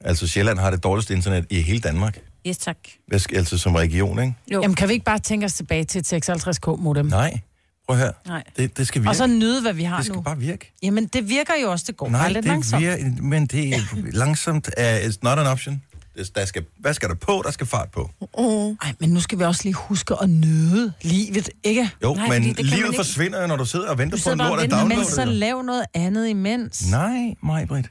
Speaker 1: Altså Sjælland har det dårligste internet i hele Danmark.
Speaker 5: Yes, tak.
Speaker 1: Hvad skal- Altså som region, ikke?
Speaker 5: Jo.
Speaker 8: Jamen, kan vi ikke bare tænke os tilbage til et 56k modem?
Speaker 1: Nej, prøv at høre.
Speaker 5: Nej.
Speaker 1: Det, det skal virke.
Speaker 8: Og så nyde, hvad vi har
Speaker 1: det skal
Speaker 8: nu.
Speaker 1: bare virke.
Speaker 8: Jamen, det virker jo også, det går
Speaker 1: Nej,
Speaker 8: bare lidt
Speaker 1: det
Speaker 8: langsomt.
Speaker 1: vir- men det er langsomt. Uh, it's not an option. Det- Der skal, hvad skal der på? Der skal fart på.
Speaker 8: Ej, men nu skal vi også lige huske at nyde livet, ikke?
Speaker 1: Jo,
Speaker 5: Nej,
Speaker 1: Nej,
Speaker 5: fordi
Speaker 1: men
Speaker 5: det kan man
Speaker 1: livet
Speaker 5: ikke-
Speaker 1: forsvinder, jo, når du sidder og venter
Speaker 8: Du
Speaker 1: på
Speaker 8: sidder
Speaker 1: en
Speaker 8: bare
Speaker 1: lort
Speaker 8: og
Speaker 1: at
Speaker 8: venter, men
Speaker 1: downloade.
Speaker 8: så
Speaker 1: det.
Speaker 8: lav noget andet imens.
Speaker 1: Nej, Majbrit.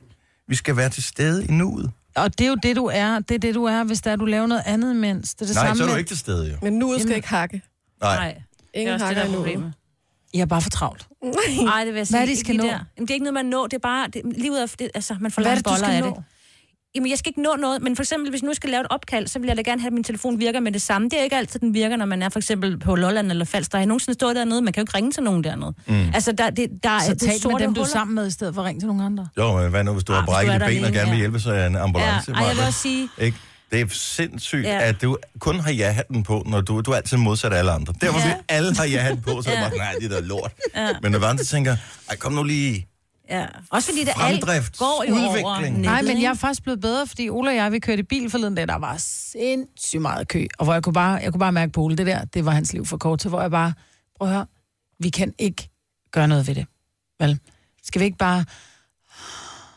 Speaker 1: Vi skal være til stede i nuet.
Speaker 8: Og det er jo det, du er. Det er det, du er, hvis der du laver noget andet imens. Det er det
Speaker 1: Nej,
Speaker 8: samme
Speaker 1: så er du
Speaker 8: med-
Speaker 1: ikke til stede, jo.
Speaker 4: Men nu skal jeg ikke hakke.
Speaker 1: Nej.
Speaker 5: Nej. Det er
Speaker 4: Ingen
Speaker 5: også det,
Speaker 4: hakker
Speaker 5: der er
Speaker 4: endnu.
Speaker 5: problemet.
Speaker 8: Jeg er bare for travlt.
Speaker 5: Nej, det vil jeg sige.
Speaker 8: Hvad er det, I
Speaker 5: ikke
Speaker 8: skal
Speaker 5: lige
Speaker 8: nå?
Speaker 5: Der. Jamen, det er ikke noget, man når. Det er bare... Det, livet er... Det, altså, man får
Speaker 8: Hvad er
Speaker 5: lange
Speaker 8: det, du
Speaker 5: boller
Speaker 8: skal
Speaker 5: af
Speaker 8: nå?
Speaker 5: det. Jamen, jeg skal ikke nå noget, men for eksempel, hvis nu jeg skal lave et opkald, så vil jeg da gerne have, at min telefon virker med det samme. Det er ikke altid, den virker, når man er for eksempel på Lolland eller Falster. Har jeg nogensinde stået dernede? Man kan jo ikke ringe til nogen dernede. Mm. Altså, der, det, der
Speaker 8: Så
Speaker 5: er det
Speaker 8: tal med
Speaker 5: sorte
Speaker 8: dem, du er
Speaker 5: huller.
Speaker 8: sammen med, i stedet for at ringe til nogle andre.
Speaker 1: Jo, men hvad nu, hvis du har
Speaker 5: Ah, hvis
Speaker 1: brækket
Speaker 5: du er
Speaker 1: et ben og
Speaker 5: der alene,
Speaker 1: gerne vil
Speaker 5: ja.
Speaker 1: hjælpe, så er en ambulance.
Speaker 5: Ja. Ej, jeg vil
Speaker 1: Maj-Brit.
Speaker 5: også sige-
Speaker 1: Ikke? Det er sindssygt,
Speaker 5: Ja.
Speaker 1: ja. at du kun har ja-hatten på, når du, du er altid modsat af alle andre. Der, hvor
Speaker 5: Ja.
Speaker 1: ja. vi alle har ja-hatten på, så er det
Speaker 5: Ja.
Speaker 1: bare, nej, det er da lort. Ja. Men når andre tænker, ej, kom nu lige,
Speaker 5: Ja. Også fordi det alt
Speaker 1: Fremdrift,
Speaker 5: går jo over
Speaker 1: udvikling.
Speaker 5: nettet,
Speaker 8: Nej, men
Speaker 5: ikke?
Speaker 8: jeg er faktisk blevet bedre, fordi Ola og jeg, vi kørte i bil forleden dag, der var sindssygt meget kø. Og hvor jeg kunne bare, jeg kunne bare mærke på Ole, det der, det var hans liv for kort til, hvor jeg bare, prøv at høre, vi kan ikke gøre noget ved det. Vel? Skal vi ikke bare...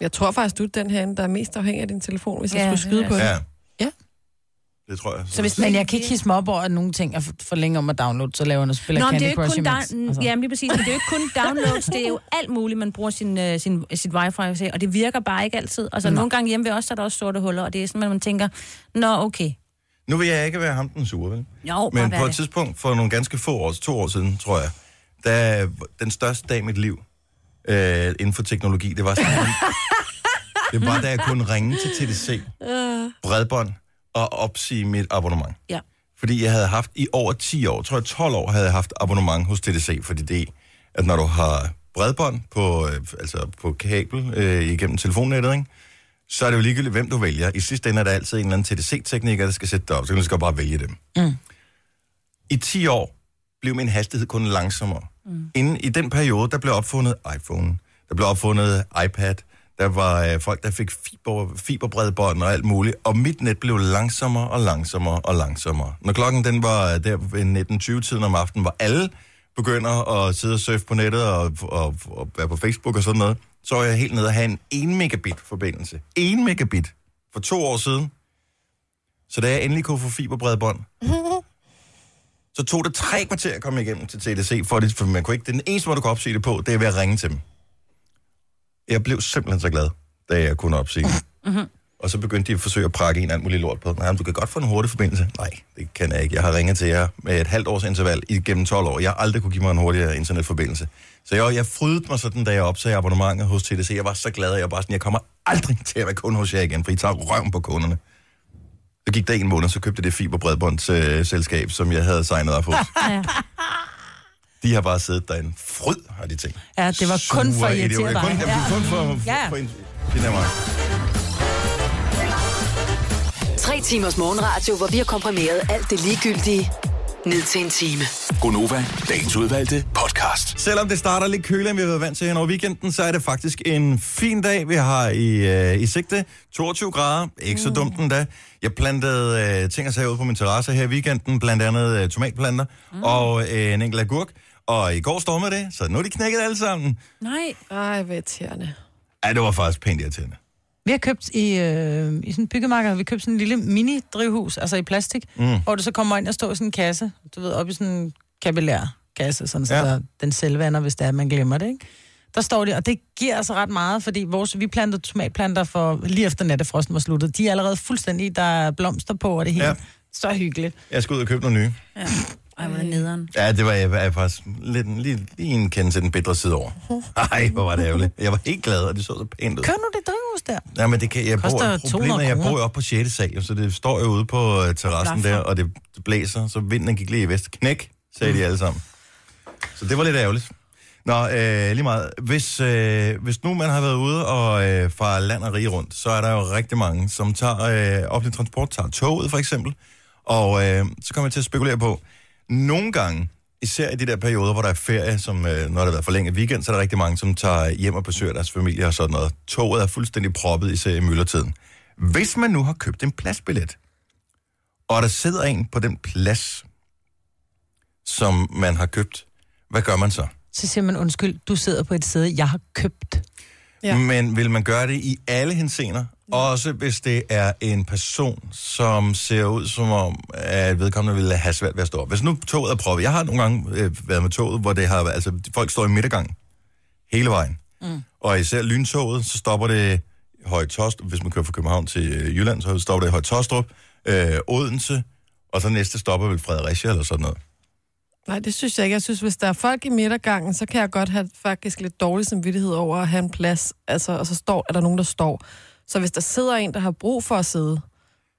Speaker 4: Jeg tror faktisk, du er den herinde, der er mest afhængig af din telefon, hvis jeg
Speaker 5: Ja,
Speaker 4: skulle skyde
Speaker 5: det er
Speaker 4: på det.
Speaker 1: ja.
Speaker 8: Ja.
Speaker 1: Det tror jeg.
Speaker 5: Så hvis
Speaker 8: Men
Speaker 5: man-
Speaker 8: jeg kan ikke hisse mig op over, at nogle ting er for, for længe om at downloade, så laver jeg noget spiller
Speaker 5: Nå, men det er
Speaker 8: Candy
Speaker 5: jo ikke
Speaker 8: Crush
Speaker 5: kun,
Speaker 8: imens.
Speaker 5: down, altså. jamen, lige præcis, men det er jo ikke kun downloads, det er jo alt muligt, man bruger sin, øh, sin, sit wifi, og se, og det virker bare ikke altid. Og så nogle gange hjemme ved os, er der også sorte huller, og det er sådan, at man tænker, nå, okay.
Speaker 1: Nu vil jeg ikke være ham den sure, vel?
Speaker 5: Jo,
Speaker 1: Men på
Speaker 5: bare vær
Speaker 1: et
Speaker 5: det.
Speaker 1: tidspunkt, for nogle ganske få år, to år siden, tror jeg, da den største dag i mit liv øh, inden for teknologi, det var
Speaker 5: *laughs*
Speaker 1: sådan, det var da jeg kunne ringe til TDC,
Speaker 5: Øh.
Speaker 1: bredbånd og opsige mit abonnement.
Speaker 5: Ja.
Speaker 1: Fordi jeg havde haft i over 10 år, tror jeg 12 år, havde jeg haft abonnement hos TDC, fordi det er, at når du har bredbånd på, øh, altså på kabel øh, igennem telefonnettet, ikke? så er det jo ligegyldigt, hvem du vælger. I sidste ende er der altid en eller anden TDC-tekniker, der skal sætte dig op, så kan du lige så godt bare vælge dem. Mm. I 10 år blev min hastighed kun langsommere. Mm. Inden, I den periode, der blev opfundet iPhone, der blev opfundet iPad, der var øh, folk, der fik fiber, fiberbredbånd og alt muligt, og mit net blev langsommere og langsommere og langsommere. Når klokken den var øh, der ved 19.20-tiden om aftenen, hvor alle begynder at sidde og surfe på nettet og, og, og være på Facebook og sådan noget, så var jeg helt nede og have en 1 megabit forbindelse. 1 megabit for to år siden. Så da jeg endelig kunne få fiberbredbånd, så tog det tre kvarter at komme igennem til TDC, for, det, for man kunne ikke, den eneste måde, du kunne opsige det på, det er ved at ringe til dem. Jeg blev simpelthen så glad, da jeg kunne opsige det. Og så begyndte de at forsøge at prakke en alt muligt lort på. Nej, men du kan godt få en hurtig forbindelse. Nej, det kan jeg ikke. Jeg har ringet til jer med et halvt års interval igennem 12 år. Jeg har aldrig kunne give mig en hurtigere internetforbindelse. Så jeg, jeg frydede mig sådan, da jeg opsagde abonnementet hos TDC. Jeg var så glad, at jeg bare sådan, jeg kommer aldrig til at være kunde hos jer igen, for I tager røven på kunderne. Så gik der en måned, så købte jeg det fiberbredbåndsselskab, som jeg havde signet op hos.
Speaker 5: Ja.
Speaker 1: De har bare siddet der en fryd, har de tænkt.
Speaker 8: Ja, det var kun for
Speaker 1: Sure
Speaker 8: at
Speaker 1: idioter.
Speaker 8: irritere
Speaker 1: Kun,
Speaker 8: dig.
Speaker 1: ja. kun for, for,
Speaker 8: Ja.
Speaker 1: for en, det er mig.
Speaker 2: Tre timers morgenradio, hvor vi har komprimeret alt det ligegyldige ned til en time.
Speaker 6: Gonova, dagens udvalgte podcast.
Speaker 1: Selvom det starter lidt køligere, end vi har været vant til hen over weekenden, så er det faktisk en fin dag, vi har i, øh, i sigte. 22 grader, ikke
Speaker 8: Mm.
Speaker 1: så dumt endda. Jeg plantede øh, ting og sager ud på min terrasse her i weekenden, blandt andet øh, tomatplanter mm. og øh, en enkelt agurk. Og i går stormede det, så nu er de knækket alle sammen.
Speaker 5: Nej.
Speaker 4: Ej, hvor irriterende.
Speaker 1: Ja, det var faktisk pænt irriterende.
Speaker 8: Vi har købt i, øh, i sådan en byggemarked, har vi købt sådan en lille mini-drivhus, altså i plastik, mm. hvor du så kommer ind og står i sådan en kasse, du ved, op i sådan en kapillær kasse, sådan så
Speaker 1: Ja.
Speaker 8: ja. der, den selvvander, hvis det er, man glemmer det, ikke? Der står det, og det giver altså ret meget, fordi vores, vi plantede tomatplanter for lige efter nattefrosten var sluttet. De er allerede fuldstændig, der er blomster på og det hele.
Speaker 1: Ja.
Speaker 8: Ja. Så hyggeligt.
Speaker 1: Jeg skal ud og købe nogle nye.
Speaker 5: Ej, hvor er det nederen.
Speaker 1: Ja, det var jeg, jeg faktisk lidt, lige, lige en kendelse den bedre side
Speaker 8: *laughs*
Speaker 1: over. Nej, hvor var det ærgerligt. Jeg var helt glad, og det så så pænt ud.
Speaker 8: Køb nu det drivhus der.
Speaker 1: Ja, men det kan, jeg bor,
Speaker 8: Koster
Speaker 1: problemet er,
Speaker 8: 200
Speaker 1: jeg bor
Speaker 8: kroner.
Speaker 1: jo oppe på 6. sal, jo, så det står jo ude på øh, terrassen der, og det det blæser, så vinden gik lige i vest. Knæk, sagde
Speaker 8: Mm.
Speaker 1: de alle sammen. Så det var lidt ærgerligt. Nå, øh, lige meget. Hvis, øh, hvis nu man har været ude og øh, fra land og rige rundt, så er der jo rigtig mange, som tager øh, offentlig transport, tager toget for eksempel, og øh, så kommer jeg til at spekulere på, nogle gange, især i de der perioder, hvor der er ferie, som øh, når der har været forlænget weekend, så er der rigtig mange, som tager hjem og besøger deres familie og sådan noget. Toget er fuldstændig proppet, især i myldretiden. Hvis man nu har købt en pladsbillet, og der sidder en på den plads, som man har købt, hvad gør man så?
Speaker 8: Så siger man, undskyld, du sidder på et sæde, jeg har købt.
Speaker 1: Ja.
Speaker 4: Ja.
Speaker 1: Men vil man gøre det i alle henseender? Også hvis det er en person, som ser ud som om, at vedkommende ville have svært ved at stå op. Hvis nu toget er proppet. Jeg har nogle gange øh, været med toget, hvor det har, været- altså, folk står i midtergang hele vejen. Mm. Og især lyntoget, så stopper det Høje Tostrup. Hvis man kører fra København til øh, Jylland, så stopper det Høje Tostrup, øh, Odense, og så næste stopper vel Fredericia eller sådan noget.
Speaker 4: Nej, det synes jeg ikke. Jeg synes, hvis der er folk i midtergangen, så kan jeg godt have faktisk lidt dårlig samvittighed over at have en plads, altså, og så står, er der nogen, der står. Så hvis der sidder en, der har brug for at sidde,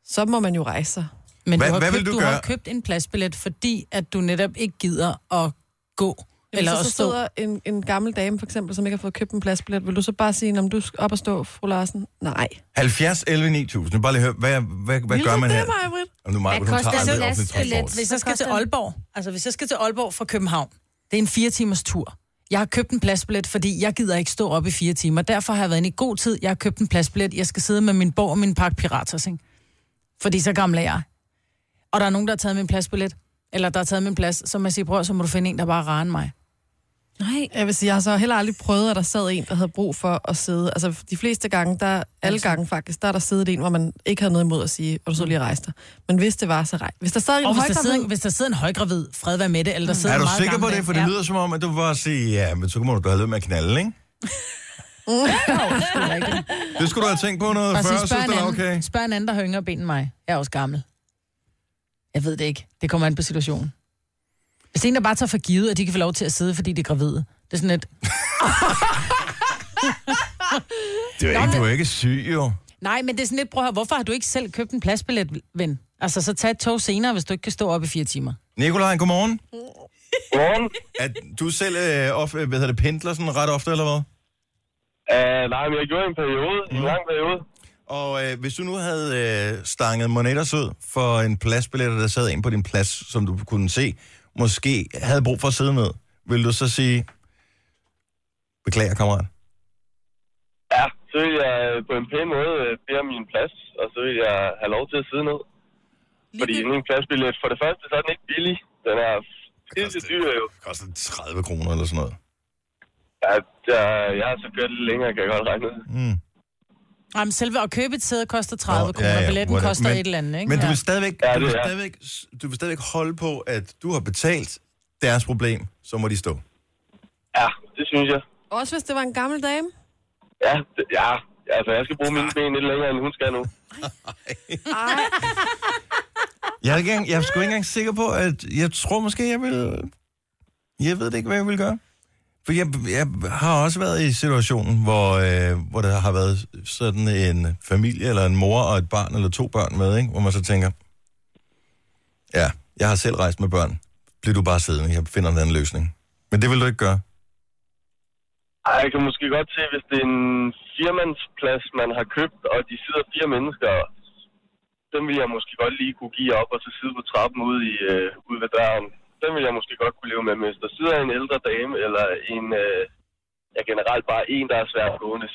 Speaker 4: så må man jo rejse sig.
Speaker 8: Men
Speaker 1: Hvad-
Speaker 8: du, har
Speaker 1: hvad vil
Speaker 8: købt,
Speaker 1: du
Speaker 8: du, har
Speaker 1: gøre?
Speaker 8: købt en pladsbillet, fordi at du netop ikke gider at gå. eller
Speaker 4: Hvis
Speaker 8: at
Speaker 4: der så
Speaker 8: stå.
Speaker 4: sidder en, en gammel dame, for eksempel, som ikke har fået købt en pladsbillet, vil du så bare sige, om du skal op og stå, fru Larsen? Nej.
Speaker 1: 70, 11, 9000. Nu bare lige høre, hvad, hvad, hvad gør man
Speaker 4: det,
Speaker 1: her?
Speaker 4: Maj-Brit?
Speaker 1: Om nu, Maja, hun
Speaker 5: koster
Speaker 1: tager
Speaker 5: en
Speaker 1: aldrig offentlig
Speaker 5: lastbillet,
Speaker 1: transport.
Speaker 8: Hvis
Speaker 5: Hvad
Speaker 8: jeg skal til
Speaker 5: koster den?
Speaker 8: Aalborg, altså hvis jeg skal til Aalborg fra København, det er en fire timers tur. Jeg har købt en pladsbillet, fordi jeg gider ikke stå op i fire timer. Derfor har jeg været inde i god tid. Jeg har købt en pladsbillet. Jeg skal sidde med min bog og min pakke piratas, ikke? Fordi så gammel er jeg. Og der er nogen, der har taget min pladsbillet. Eller der har taget min plads. Så man siger, bror, så må du finde en, der bare rarer end mig.
Speaker 5: Nej.
Speaker 4: Jeg vil sige, jeg har så heller aldrig prøvet, at der sad en, der havde brug for at sidde. Altså de fleste gange, der, alle gange faktisk, der er der siddet en, hvor man ikke havde noget imod at sige, og du så lige rejste dig. Men hvis det var, så rej. Hvis der sad en
Speaker 8: Og hvis der,
Speaker 4: højgravid-
Speaker 8: sidder, hvis der sidder en højgravid, fred være med det, eller der sidder
Speaker 1: Mm. Er
Speaker 8: en
Speaker 1: du
Speaker 8: meget
Speaker 1: sikker på
Speaker 8: gammel
Speaker 1: det?
Speaker 8: en.
Speaker 1: For det
Speaker 8: Ja.
Speaker 1: lyder som om, at du bare siger, ja, men så må du da have løbet med at knalde, ikke? det skulle du have tænkt på noget
Speaker 8: Bare
Speaker 1: før,
Speaker 8: sige,
Speaker 1: synes
Speaker 8: spørg,
Speaker 1: det
Speaker 8: en
Speaker 1: er
Speaker 8: anden,
Speaker 1: okay.
Speaker 8: okay. spørg en anden, der har yngre ben end mig. Jeg er også gammel. Jeg ved det ikke. Det kommer an på situationen. Hvis en, der bare tager for givet, at de kan få lov til at sidde, fordi de er gravide. Det er sådan et,
Speaker 1: Det er jo ikke, du er ikke syg, jo.
Speaker 8: nej, men det er sådan lidt, prøv at høre, hvorfor har du ikke selv købt en pladsbillet, ven? Altså, så tag et tog senere, hvis du ikke kan stå op i fire timer.
Speaker 1: Nikolaj, godmorgen.
Speaker 9: Morgen.
Speaker 1: At du selv øh, of, øh, hvad hedder det, pendler sådan ret ofte, eller hvad?
Speaker 9: Uh, nej, men jeg gjorde en periode, mm. en lang periode.
Speaker 1: Og øh, hvis du nu havde øh, stanget monetter ud for en pladsbillet, og der sad en på din plads, som du kunne se, måske havde brug for at sidde ned, ville du så sige, beklager, kammerat?
Speaker 9: Ja, så ville jeg øh, på en pæn måde øh, bede om min plads, og så ville jeg have lov til at sidde ned. Fordi sådan en pladsbillet, for det første, så er den ikke billig. Den er skide dyr jo.
Speaker 1: koster 30 kroner eller sådan noget.
Speaker 9: Ja, jeg, jeg har så kørt lidt længere, kan jeg godt regne ud.
Speaker 8: Jamen, selve at købe et sæde koster 30
Speaker 1: Nå,
Speaker 8: kroner, ja, ja, billetten
Speaker 1: whatever.
Speaker 8: koster et eller andet, ikke?
Speaker 1: Men du
Speaker 8: ja.
Speaker 1: vil stadigvæk,
Speaker 9: Ja,
Speaker 1: du vil
Speaker 9: det er.
Speaker 1: stadigvæk, du vil stadigvæk holde på, at du har betalt deres problem, så må de stå.
Speaker 9: Ja, det synes jeg.
Speaker 4: Også hvis det var en gammel dame?
Speaker 9: Ja, det, ja. Altså, jeg skal bruge mine ben lidt længere, end hun skal nu.
Speaker 1: Jeg er, ikke, engang- jeg er sgu ikke engang sikker på, at jeg tror måske, jeg vil... Jeg ved det ikke, hvad jeg vil gøre. For jeg, jeg har også været i situationen, hvor, øh, hvor der har været sådan en familie, eller en mor og et barn, eller to børn med, ikke? hvor man så tænker, ja, jeg har selv rejst med børn. Bliv du bare siddende, jeg finder en anden løsning. Men det vil du ikke gøre.
Speaker 9: Ej, jeg kan måske godt se, hvis det er en firmandsplads, man har købt, og de sidder fire mennesker, dem vil jeg måske godt lige kunne give op og så sidde på trappen ude, i, øh, ude ved døren. Den vil jeg måske godt kunne leve med, men hvis der sidder en ældre dame, eller en, øh, ja generelt bare en, der er svært gående,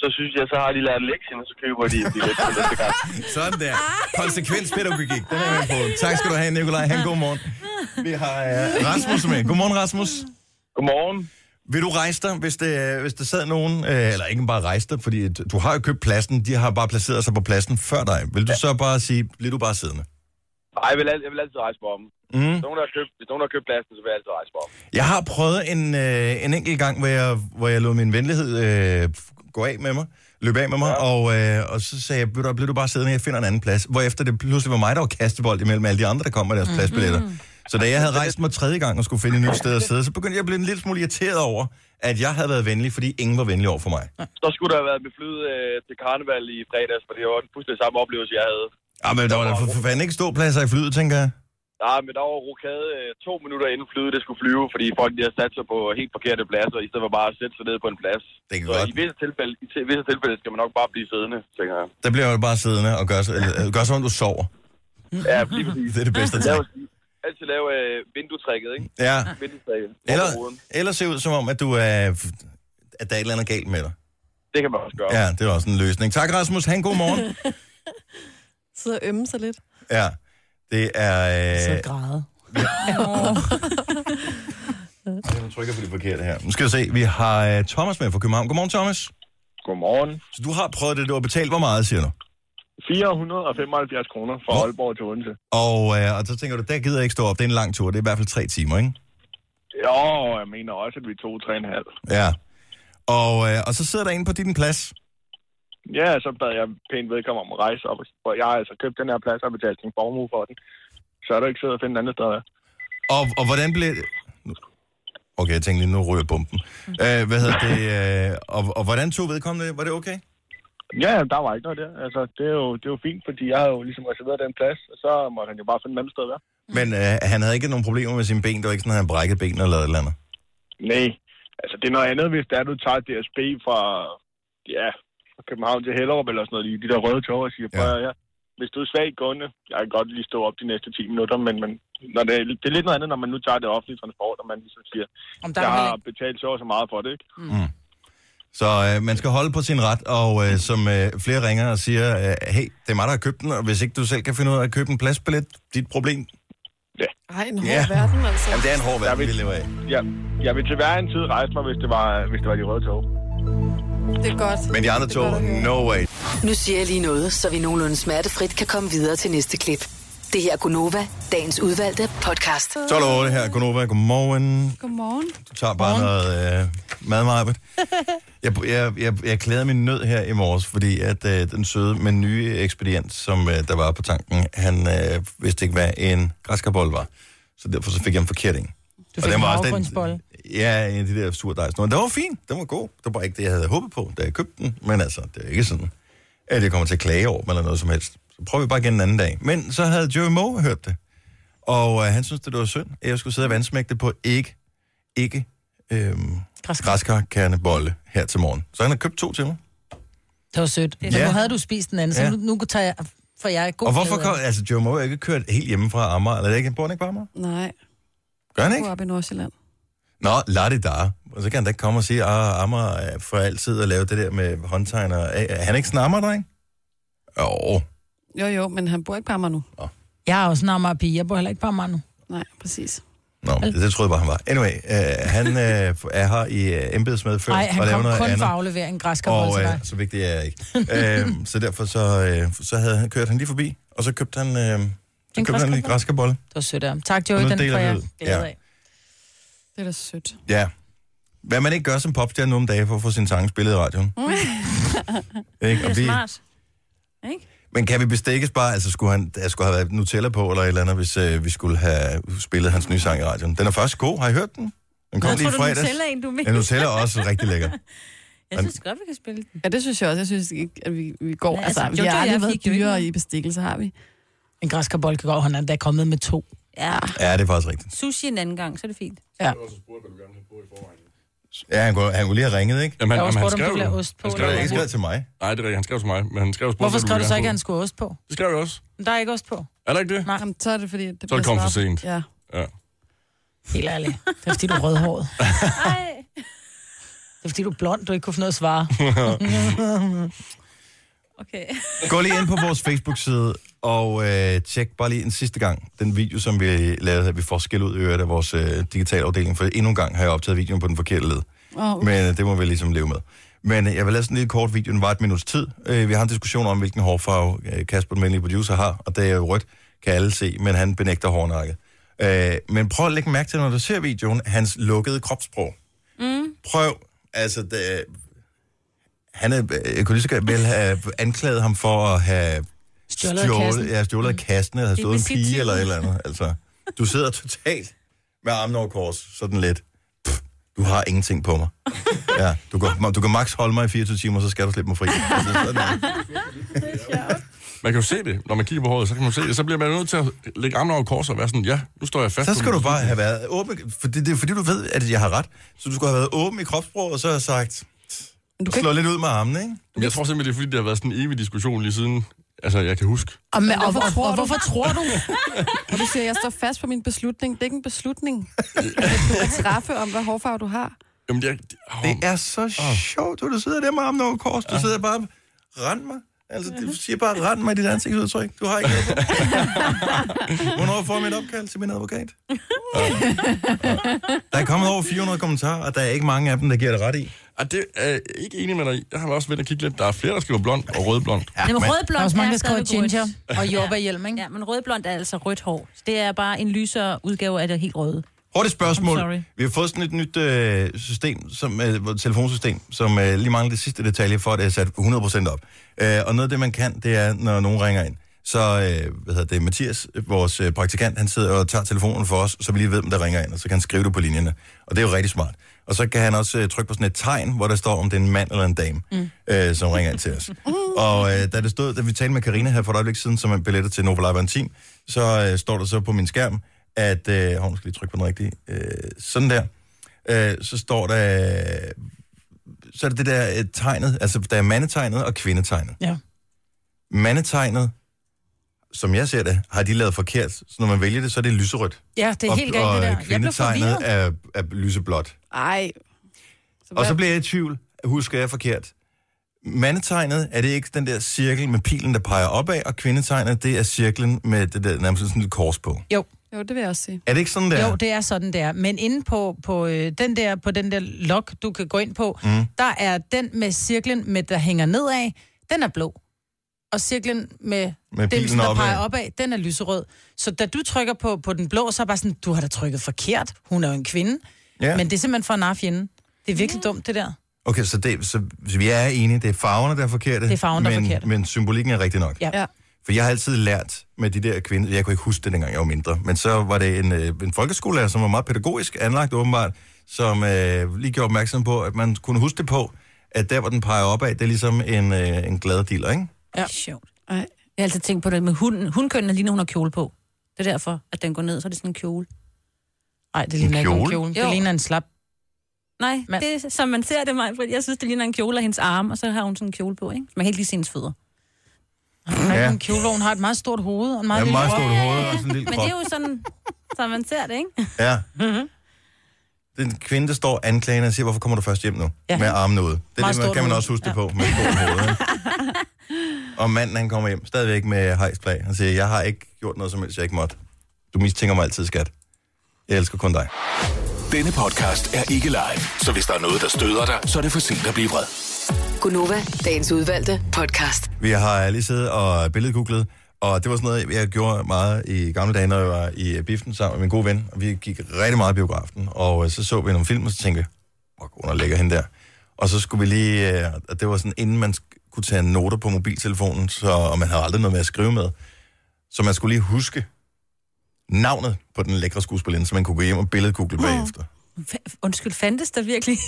Speaker 9: så synes jeg, så har de lært lektien, og så køber de en billet til næste gang.
Speaker 1: Sådan der. Konsekvenspædagogik, den er jeg med på. Tak skal du have, Nikolaj. Han god morgen. Vi har øh, Rasmus med. Godmorgen, Rasmus.
Speaker 9: Godmorgen.
Speaker 1: Vil du rejse dig, hvis, det, hvis der sad nogen, øh, eller ikke bare rejse dig, fordi du har jo købt pladsen, de har bare placeret sig på pladsen før dig. Vil du så bare sige, bliv du bare siddende?
Speaker 9: Ej, jeg vil, al- jeg vil altid rejse mig om. Mm. Hvis, nogen har købt, hvis nogen har købt pladsen, så vil jeg altid rejse mig om.
Speaker 1: Jeg har prøvet en, øh, en enkelt gang, hvor jeg, hvor jeg lod min venlighed øh, gå af med mig, løbe af med mig, ja. og, øh, og så sagde jeg, "Ved du hvad, bliv du bare siddende, jeg finder en anden plads. Hvorefter det pludselig var mig, der var kastebold imellem alle de andre, der kom med deres mm. pladsbilletter. Så da jeg havde rejst mig tredje gang og skulle finde et nyt sted at sidde, så begyndte jeg at blive en lille smule irriteret over, at jeg havde været venlig, fordi ingen var venlig over for mig.
Speaker 9: Så skulle der have været beflyet øh, til karneval i fredags, for det var en fuldstændig samme oplevelse, jeg havde.
Speaker 1: Ah, men der var da for, for fanden ikke ståpladser i flyet, tænker jeg.
Speaker 9: Nej, men der var rokade øh, to minutter inden flyet, det skulle flyve, fordi folk de havde sat sig på helt forkerte pladser, i stedet for bare at sætte sig ned på en plads.
Speaker 1: Det kan
Speaker 9: Så
Speaker 1: godt.
Speaker 9: i visse tilfælde, i til- visse tilfælde skal man nok bare blive siddende, tænker jeg.
Speaker 1: Der bliver jeg jo bare siddende og gør, så- øh, gør som om du sover.
Speaker 9: Ja, lige præcis.
Speaker 1: Mm. *laughs* Det er det bedste
Speaker 9: Lav,
Speaker 1: ting.
Speaker 9: altid lave øh, vinduetrækket, ikke?
Speaker 1: Ja.
Speaker 9: Vinduetrækket.
Speaker 1: Eller,
Speaker 9: Over ruden.
Speaker 1: eller se ud som om, at, du er, at der er et eller andet galt med dig.
Speaker 9: Det kan man også gøre.
Speaker 1: Ja, det er også en løsning. Tak, Rasmus. Han god *laughs* morgen.
Speaker 4: Sidder og ømme sig lidt.
Speaker 1: Ja, det er...
Speaker 8: Så
Speaker 1: Øh,
Speaker 8: græde.
Speaker 1: jeg trykker på det forkerte her. Nu skal vi se. Vi har øh, Thomas med fra København. Godmorgen, Thomas.
Speaker 9: Godmorgen.
Speaker 1: Så du har prøvet det, du har betalt. Hvor meget, siger du?
Speaker 9: 475 kroner fra
Speaker 1: Hvor-
Speaker 9: Aalborg til Odense.
Speaker 1: Og, øh, og så tænker du, der gider jeg ikke stå op. Det er en lang tur. Det er i hvert fald tre timer, ikke?
Speaker 9: Jo, jeg mener også, at vi tog 3,5.
Speaker 1: Ja. Og, øh, og så sidder der inde på din plads.
Speaker 9: Ja, så bad jeg pænt vedkommende om at rejse op, og jeg har altså købt den her plads og betalt en formue for den. Så er du ikke siddet og finde et andet sted. ja.
Speaker 1: Og, og hvordan blev det... Nu- Okay, jeg tænkte lige, nu ryger bomben. Øh, hvad hedder det? Øh, og, og hvordan tog vedkommende det? Var det okay?
Speaker 9: Ja, der var ikke noget der. Altså, det er jo, det er jo fint, fordi jeg havde jo ligesom reserveret den plads, og så måtte han jo bare finde et andet sted at være.
Speaker 1: Men øh, han havde ikke nogen problemer med sine ben. Det var ikke sådan, at han brækkede ben eller et eller andet.
Speaker 9: Nej, altså det er noget andet, hvis det er, du tager DSB fra, ja, fra København til Hellerup eller sådan noget, i de der røde tog og siger,
Speaker 1: Ja.
Speaker 9: ja. ja. hvis du er svagt gående, jeg kan godt lige stå op de næste 10 minutter, men, men når det, er, det er lidt noget andet, når man nu tager det offentlige transport, og man ligesom siger,
Speaker 8: Om der
Speaker 9: jeg
Speaker 8: er
Speaker 9: har
Speaker 8: heller
Speaker 9: betalt så og så meget for det, ikke?
Speaker 1: Så øh, man skal holde på sin ret, og øh, som øh, flere ringer og siger, øh, hey, det er mig, der har købt den, og hvis ikke du selv kan finde ud af at købe en pladsbillet, dit problem.
Speaker 4: Ej, en hård
Speaker 1: Ja.
Speaker 4: verden, altså.
Speaker 1: Jamen, det er en hård verden,
Speaker 9: vil-
Speaker 1: vi lever af.
Speaker 9: Jeg, jeg vil til hver en tid rejse mig, hvis det var, hvis det var de røde tog.
Speaker 4: Det er godt.
Speaker 1: Men de andre
Speaker 4: Det er godt
Speaker 1: to,
Speaker 4: at høre.
Speaker 1: no way.
Speaker 2: Nu siger jeg lige noget, så vi nogenlunde smertefrit kan komme videre til næste klip. Det her er Gunova, dagens udvalgte podcast.
Speaker 1: 12 over det her. Godnova, godmorgen.
Speaker 5: Godmorgen.
Speaker 1: Du tager bare noget øh, mad,
Speaker 4: *laughs*
Speaker 1: Marbet. Jeg, jeg, jeg, jeg klæder min nød her i morges, fordi at øh, den søde, men nye ekspedient, som øh, der var på tanken, han øh, vidste ikke, hvad en græskarbold var. Så derfor så fik jeg en forkert en.
Speaker 8: Du
Speaker 1: Og
Speaker 8: fik
Speaker 1: den
Speaker 8: en
Speaker 1: var også den-
Speaker 8: havgrønsbolle.
Speaker 1: Ja, en af de der surdejs. Den var fin, den var god. Det var bare ikke det, jeg havde håbet på, da jeg købte den. Men altså, det er ikke sådan, at jeg kommer til at klage over dem eller noget som helst. Så prøver vi bare igen en anden dag. Men så havde Joey Moe hørt det. Og øh, han synes, det var synd, at jeg skulle sidde og vandsmække det på ikke, ikke øhm,
Speaker 8: Græskar.
Speaker 1: græskarkernebolle her til morgen. Så han har købt to til mig.
Speaker 8: Det var sødt. Men
Speaker 1: Ja.
Speaker 8: nu havde du spist den anden, så
Speaker 1: Ja.
Speaker 8: nu, nu tager jeg... For jeg er god
Speaker 1: Og hvorfor
Speaker 8: glæde af
Speaker 1: kom, altså, Joey Moe er ikke kørt helt hjemme fra Amager, eller er det ikke? Bor han ikke på Amager?
Speaker 10: Nej,
Speaker 1: Gør han
Speaker 10: du
Speaker 1: ikke?
Speaker 10: er oppe i Nordsjælland.
Speaker 1: Nå, lad det da. Og så kan han da ikke komme og sige, at Amager er for altid at lave det der med håndtegner. Er er han ikke sådan en Amager-dreng? Jo.
Speaker 10: Jo, jo, men han bor ikke på Amager nu.
Speaker 8: det. Jeg er også en Amager pige. Jeg bor heller ikke på Amager nu.
Speaker 10: Nej, præcis.
Speaker 1: Nå, det, det troede jeg bare, han var. Anyway, øh, han øh, er her i øh, embedsmedfølg
Speaker 8: Nej,
Speaker 1: og
Speaker 8: han
Speaker 1: laver
Speaker 8: kom
Speaker 1: noget
Speaker 8: kun
Speaker 1: andet.
Speaker 8: for at aflevere en græskarbolle
Speaker 1: Og
Speaker 8: til
Speaker 1: øh,
Speaker 8: dig.
Speaker 1: så vigtig er jeg ikke. øh, så derfor så, øh, så havde han, kørt han lige forbi, og så købte han, øh, så
Speaker 8: En
Speaker 1: købte han en
Speaker 8: græskarbolle?
Speaker 1: græskarbolle.
Speaker 8: Det var sødt af ham. Tak,
Speaker 1: Og
Speaker 8: Joey,
Speaker 1: nu
Speaker 8: den
Speaker 1: deler
Speaker 8: får
Speaker 1: vi
Speaker 8: jeg
Speaker 1: ud.
Speaker 8: glæde
Speaker 1: Ja.
Speaker 8: af.
Speaker 10: Det er da sødt.
Speaker 1: Ja. Hvad man ikke gør som popstjerne nu om dagen for at få sin sang spillet i radioen.
Speaker 8: Mm.
Speaker 1: Ikke?
Speaker 5: Det
Speaker 1: Og
Speaker 5: er
Speaker 1: vi,
Speaker 5: smart. Ikke?
Speaker 1: Men kan vi bestikkes bare, altså skulle han, der skulle have været Nutella på eller et eller andet, hvis øh, vi skulle have spillet hans nye sang i radioen? Den er faktisk god, har I hørt den? Den kom
Speaker 5: Jeg
Speaker 1: lige i
Speaker 5: tror, du
Speaker 1: fredags.
Speaker 5: Nutella er en, du mener.
Speaker 1: Ja, Nutella er også rigtig lækker.
Speaker 5: Jeg synes godt, vi kan spille den.
Speaker 10: Ja, det synes jeg også. Jeg synes ikke, at vi, vi går...
Speaker 5: Ja,
Speaker 10: Ja,
Speaker 5: altså,
Speaker 10: altså, altså, vi
Speaker 5: Jojo
Speaker 10: har
Speaker 5: og jeg
Speaker 10: aldrig
Speaker 5: fik
Speaker 10: været
Speaker 5: jo ikke
Speaker 10: dyrere
Speaker 5: noget.
Speaker 10: i bestikkelse, har vi?
Speaker 8: En græskarbold kan gå over, han er da kommet med to.
Speaker 5: Ja.
Speaker 1: Ja, det er faktisk rigtigt.
Speaker 5: Sushi en anden gang, så er det fint.
Speaker 8: Ja.
Speaker 1: Ja, han kunne, han kunne lige have ringet, ikke?
Speaker 7: Jamen,
Speaker 8: Jeg har
Speaker 7: han,
Speaker 8: også
Speaker 7: han
Speaker 8: spurgt, om du
Speaker 7: skrev
Speaker 8: vil have
Speaker 7: jo-
Speaker 8: ost på,
Speaker 7: han skrev
Speaker 1: Det er
Speaker 7: jo
Speaker 1: ikke
Speaker 7: ikke.
Speaker 1: skrevet til mig.
Speaker 7: Nej, det er rigtigt. Han skrev til mig, men han skrev spurgte,
Speaker 8: Hvorfor
Speaker 7: hvad
Speaker 8: skrev
Speaker 7: ville
Speaker 8: du så
Speaker 7: gerne
Speaker 8: ikke, at
Speaker 7: have
Speaker 8: han skulle have ost på?
Speaker 7: på. Det skrev jeg også.
Speaker 8: Men der er ikke ost på.
Speaker 7: Er der ikke det?
Speaker 8: Nej.
Speaker 10: Jamen, så er det fordi... Det
Speaker 7: Så er
Speaker 10: bliver
Speaker 7: det kommet for
Speaker 10: svært.
Speaker 7: sent.
Speaker 10: Ja.
Speaker 7: Ja.
Speaker 8: Helt ærligt. Det er fordi, du er rødhåret.
Speaker 5: Ej.
Speaker 8: Det er fordi, du er blond, du ikke kunne få noget at svare.
Speaker 5: Okay.
Speaker 1: Gå lige ind på vores Facebook-side og øh, tjek bare lige en sidste gang den video, som vi lavede her. Vi får skæld ud i øvrigt af vores øh, digitale afdeling, for endnu en gang har jeg optaget videoen på den forkerte led.
Speaker 10: Åh,
Speaker 1: Men øh, det må vi ligesom leve med. Men øh, jeg vil lave sådan en lille kort video, den var et minuts tid. Øh, vi har en diskussion om, hvilken hårfarve øh, Kasper, den venlige producer, har, og det er jo rødt, kan alle se, men han benægter hårnakket. Øh, men prøv at lægge mærke til, når du ser videoen, hans lukkede kropssprog. Mm. Prøv, altså, det, han er, øh, jeg kunne lige så godt vel have anklaget ham for at have
Speaker 8: Stjålet af kassen.
Speaker 1: ja, stjålet af kassen, eller have
Speaker 5: Det er
Speaker 1: stået en
Speaker 5: besittivet.
Speaker 1: pige, eller et eller andet. Altså, du sidder totalt med armen over kors, sådan lidt. Pff, du har ingenting på mig. Ja, du kan, du kan max holde mig i 24 timer, så skal du slippe mig fri. Altså, sådan.
Speaker 7: Man kan jo se det. Når man kigger på håret, så kan man se det. Så bliver man nødt til at lægge armene over kors og være sådan, ja, nu står jeg fast.
Speaker 1: Så
Speaker 7: på
Speaker 1: skal
Speaker 7: min
Speaker 1: du bare
Speaker 7: beslutning.
Speaker 1: have været åben, for det, det er fordi, du ved, at jeg har ret. Så du skulle have været åben i kropsproget, og så have sagt,
Speaker 10: du kan
Speaker 1: slå lidt ud med armene, ikke?
Speaker 7: Men Jeg tror simpelthen, det er fordi, det har været sådan en evig diskussion lige siden, altså jeg kan huske.
Speaker 8: Og, med, og, og,
Speaker 10: tror
Speaker 8: og, og
Speaker 10: du?
Speaker 8: hvorfor tror du?
Speaker 10: *laughs* Og du siger, jeg står fast på min beslutning. Det er ikke en
Speaker 1: *laughs*
Speaker 10: beslutning, du kan træffe om, hvad hårfarve du har.
Speaker 7: Jamen, jeg, det,
Speaker 1: Det er så sjovt, du, du sidder der med armen over kors. Du sidder bare, rend mig. Altså, du siger bare, rend mig i dit ansigtsudtryk. Du har ikke noget på. Hvornår får jeg mit opkald til min advokat? Ja. Der er kommet over 400 kommentarer, og der er ikke mange af dem, der giver det ret i.
Speaker 7: Og ah, det er jeg ikke enig med dig i. Jeg har også været og kigge lidt. Der er flere, der skriver blond og rødblond.
Speaker 5: Ja, men
Speaker 8: Der er
Speaker 5: rødblond
Speaker 8: også mange,
Speaker 5: er
Speaker 8: der skriver
Speaker 5: stadig
Speaker 8: ginger
Speaker 5: rødt.
Speaker 8: og jordbærhjelm, ikke?
Speaker 5: Ja, men rødblond er altså rødt hår. Så Det er bare en lysere udgave af det helt røde.
Speaker 1: Hurtigt
Speaker 5: I'm sorry.
Speaker 1: spørgsmål. Vi har fået sådan et nyt øh, system, som, øh, vores telefonsystem, som øh, lige mangler det sidste detalje for, at det er sat 100% op. Øh, og noget af det, man kan, det er, når nogen ringer ind, så, øh, hvad hedder det, Mathias, øh, vores øh, praktikant, han sidder og tager telefonen for os, så vi lige ved, om der ringer ind, og så kan han skrive det på linjerne. Og det er jo rigtig smart. Og så kan han også øh, trykke på sådan et tegn, hvor der står, om det er en mand eller en dame, mm. øh, som ringer ind til os. Og øh, da det stod, da vi talte med Karina her for et øjeblik siden, som er billetter til Nova Live Antim, så øh, står der så på min skærm, at, øh, hov, nu skal jeg lige trykke på den rigtige, øh, sådan der, øh, så står der, øh, så er det det der øh, tegnet, altså der er mandetegnet og kvindetegnet.
Speaker 8: Ja.
Speaker 1: Mandetegnet, som jeg ser det, har de lavet forkert, så når man vælger det, så er det lyserødt.
Speaker 8: Ja, det er
Speaker 1: og,
Speaker 8: helt galt, det der.
Speaker 1: Og
Speaker 8: Jeg blev
Speaker 1: kvindetegnet
Speaker 8: forvirret.
Speaker 1: er, er lyseblåt.
Speaker 10: Ej.
Speaker 1: Og så bliver jeg i tvivl, husker jeg forkert. Mandetegnet, er det ikke den der cirkel med pilen, der peger opad, og kvindetegnet, det er cirklen med det der nærmest sådan et kors på.
Speaker 8: Jo,
Speaker 10: Jo, det vil jeg også sige.
Speaker 1: Er det ikke sådan der?
Speaker 8: jo, det er sådan, der. Men inde på, på, øh, den der, på den der lok, du kan gå ind på, mm. der er den med cirklen, med, der hænger nedad, den er blå. Og cirklen med,
Speaker 1: Med
Speaker 8: dimsen,
Speaker 1: pilen
Speaker 8: der
Speaker 1: opad.
Speaker 8: peger opad, den er lyserød. Så da du trykker på, på den blå, så er jeg bare sådan, du har da trykket forkert. Hun er jo en kvinde.
Speaker 1: Ja.
Speaker 8: Ja. Men det er simpelthen for at narre fjenden. Det er virkelig dumt, det der.
Speaker 1: Okay, så, det, så så vi er enige, det er farverne, der er forkerte.
Speaker 8: Det er farverne, der er
Speaker 1: men,
Speaker 8: forkerte.
Speaker 1: Men symbolikken er rigtig nok.
Speaker 8: Ja.
Speaker 10: Ja.
Speaker 1: For jeg har altid lært med de der kvinder, jeg kunne ikke huske det, dengang jeg var mindre, men så var det en, øh, en folkeskolelærer, som var meget pædagogisk anlagt åbenbart, som øh, lige gjorde opmærksom på, at man kunne huske det på, at der, hvor den peger opad, det er ligesom en, øh, en glad dealer, ikke?
Speaker 5: Ja. Det er sjovt.
Speaker 10: Ej.
Speaker 5: Jeg har altid tænkt på det med hunden. Hundkønnen er lige, når hun har kjole på. Det er derfor, at den går ned, så er det sådan en kjole.
Speaker 8: Nej, det ligner ikke en
Speaker 1: kjole?
Speaker 8: kjole.
Speaker 5: Jo.
Speaker 8: Det ligner en slap.
Speaker 5: Nej,
Speaker 8: Men-
Speaker 5: Men... det er, som man ser det, mig. Jeg synes, det ligner en kjole af hendes arme, og så har hun sådan en kjole på, ikke? Man kan helt lige se hendes fødder.
Speaker 8: Hun
Speaker 1: Ja.
Speaker 8: ja. en kjole, hvor hun har et meget stort hoved og en meget
Speaker 1: Ja,
Speaker 8: lille
Speaker 1: meget
Speaker 8: krop.
Speaker 1: stort hoved og sådan en lille
Speaker 5: Men
Speaker 1: krop.
Speaker 5: det er jo sådan, så man ser det, ikke?
Speaker 1: Ja.
Speaker 8: Mm-hmm.
Speaker 1: Den kvinde, der står anklagende og siger, hvorfor kommer du først hjem nu? Ja.
Speaker 8: Ja.
Speaker 1: Med armene ude. Det, er
Speaker 8: Meget
Speaker 1: det man,
Speaker 8: stort
Speaker 1: kan man
Speaker 8: hoved.
Speaker 1: også huske det på med stort hoved. ikke? Og manden, han kommer hjem stadigvæk med hejsplag. Han siger, jeg har ikke gjort noget som helst, jeg ikke måtte. Du mistænker mig altid, skat. Jeg elsker kun dig.
Speaker 6: Denne podcast er ikke live, så hvis der er noget, der støder dig, så er det for sent at blive vred.
Speaker 2: Gunova, dagens udvalgte podcast.
Speaker 1: Vi har lige siddet og billedgooglet, og det var sådan noget, jeg gjorde meget i gamle dage, når jeg var i biffen sammen med min gode ven. Og vi gik rigtig meget i biografen, og øh, så så vi nogle film, og så tænkte jeg, hvor hun er lækker hende der. Og så skulle vi lige, øh, og det var sådan, inden man sk- kunne tage noter på mobiltelefonen, så, og man havde aldrig noget med at skrive med, så man skulle lige huske navnet på den lækre skuespillerinde, så man kunne gå hjem og billedgoogle bagefter.
Speaker 5: F- undskyld, fandtes der virkelig?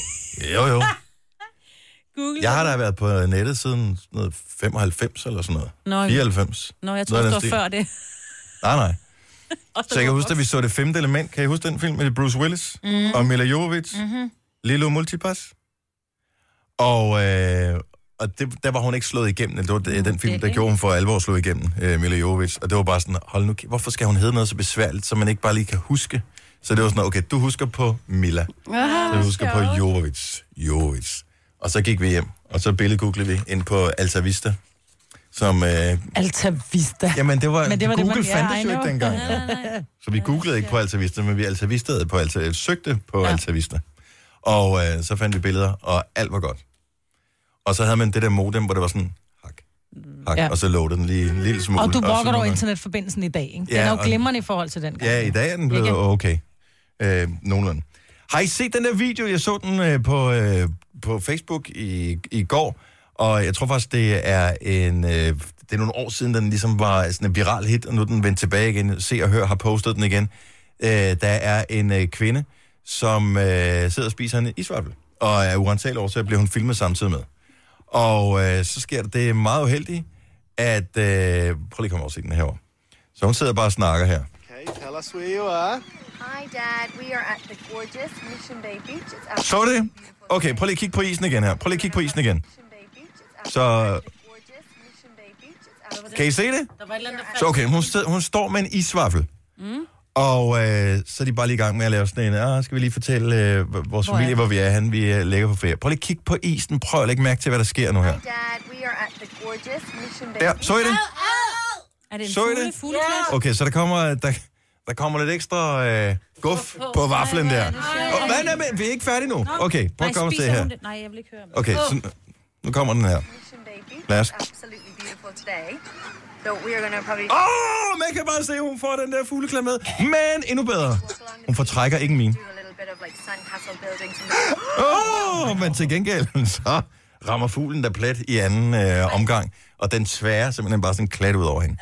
Speaker 1: Jo, jo.
Speaker 5: Google.
Speaker 1: Jeg har da været på nettet siden sådan noget 95 eller sådan noget.
Speaker 5: Nå,
Speaker 1: 94.
Speaker 5: Nå, jeg tror,
Speaker 1: Noget af
Speaker 5: det
Speaker 1: den
Speaker 5: var
Speaker 1: stil.
Speaker 5: før *laughs* det.
Speaker 1: Nej, nej. Så jeg kan huske, da vi så det femte element. Kan I huske den film med Bruce Willis
Speaker 5: Mhm.
Speaker 1: og Mila Jovovich?
Speaker 5: Mm-hmm.
Speaker 1: Lilo Multipass. Og, øh, og det, der var hun ikke slået igennem. Det var det, den film, der gjorde hun for alvor slået igennem, øh, Mila Jovovich. Og det var bare sådan, hold nu, kæ- hvorfor skal hun hedde noget så besværligt, som man ikke bare lige kan huske? Så det var sådan, okay, du husker på Mila.
Speaker 10: Aha,
Speaker 1: Jeg husker på Jovovich. Jovovich. Og så gik vi hjem, og så billedgooglede vi ind på Altavista, som... Øh,
Speaker 8: Altavista.
Speaker 1: Jamen, det var,
Speaker 8: Men det var det,
Speaker 1: Google
Speaker 8: man-
Speaker 1: det,
Speaker 8: ja, I
Speaker 1: fandtes jo
Speaker 8: know.
Speaker 1: ikke dengang. Så vi googlede ikke på Altavista, men vi Altavistede på Alta, øh, søgte på ja. Altavista. Og øh, så fandt vi billeder, og alt var godt. Og så havde man det der modem, hvor det var sådan, hak, hak,
Speaker 8: Ja.
Speaker 1: ja. og så lådede den lige en lille smule.
Speaker 8: Og du
Speaker 1: så
Speaker 8: brokker
Speaker 1: nogle
Speaker 8: over
Speaker 1: gange-
Speaker 8: internetforbindelsen i dag, ikke? Den
Speaker 1: Ja,
Speaker 8: er jo
Speaker 1: og-
Speaker 8: glimrende i forhold til den gang.
Speaker 1: Ja, i dag er den blevet
Speaker 8: Ikke?
Speaker 1: okay. Øh, nogenlunde. Har I set den der video? Jeg så den øh, på, øh, på Facebook i, i går, og jeg tror faktisk, det er en... Øh, det er nogle år siden, den ligesom var sådan en viral hit, og nu er den vendt tilbage igen. Se og Hør har postet den igen. Øh, der er en øh, kvinde, som øh, sidder og spiser en isvaffel, og af urentale årsager bliver hun filmet samtidig med. Og øh, så sker der det meget uheldige, at... Øh, prøv lige at komme over og se den herovre. Så hun sidder bare og snakker her.
Speaker 11: Okay, tell us where you are.
Speaker 12: Hi, Dad. We are at the gorgeous Mission Bay Beach. It's absolutely
Speaker 1: Så det? Okay, prøv lige at kigge på isen igen her. Prøv lige at kigge på isen igen. Så... Kan I se det? Så okay, hun, sted, hun står med en isvaffel.
Speaker 12: Mm.
Speaker 1: Og øh, så er de bare lige i gang med at lave sådan en, ah, skal vi lige fortælle øh, h- vores
Speaker 12: Hvor er
Speaker 1: familie,
Speaker 12: vi?"
Speaker 1: hvor vi er henne, vi øh, ligger på ferie. Prøv lige at kigge på isen, prøv at lægge mærke til, hvad der sker nu her.
Speaker 12: Hi, Dad. We are at the gorgeous Mission Bay
Speaker 1: Der,
Speaker 12: Beach.
Speaker 1: så I det?
Speaker 5: Er det en
Speaker 1: Så I
Speaker 5: fugle,
Speaker 1: det?
Speaker 5: fugleklasse?
Speaker 1: Okay, så der kommer, der, der kommer lidt ekstra øh, guf på vaflen der. Og, hvad, nej, men vi er ikke færdige nu. Okay, prøv at komme og se her.
Speaker 5: Nej, jeg vil ikke høre.
Speaker 1: Okay, så, nu kommer den her.
Speaker 12: Mission Bay Beach.
Speaker 1: Lad os-
Speaker 12: It's absolutely beautiful today. So we are going to probably...
Speaker 1: Åh, oh, man kan bare se, at hun får den der fugleklam med. Men endnu bedre. Hun fortrækker ikke min.
Speaker 12: Do a little bit of like sun castle buildings. and-
Speaker 1: Åh, oh, men til gengæld, *laughs* så rammer fuglen der plet i anden øh, omgang. Og den sværer simpelthen bare sådan klat ud over hende.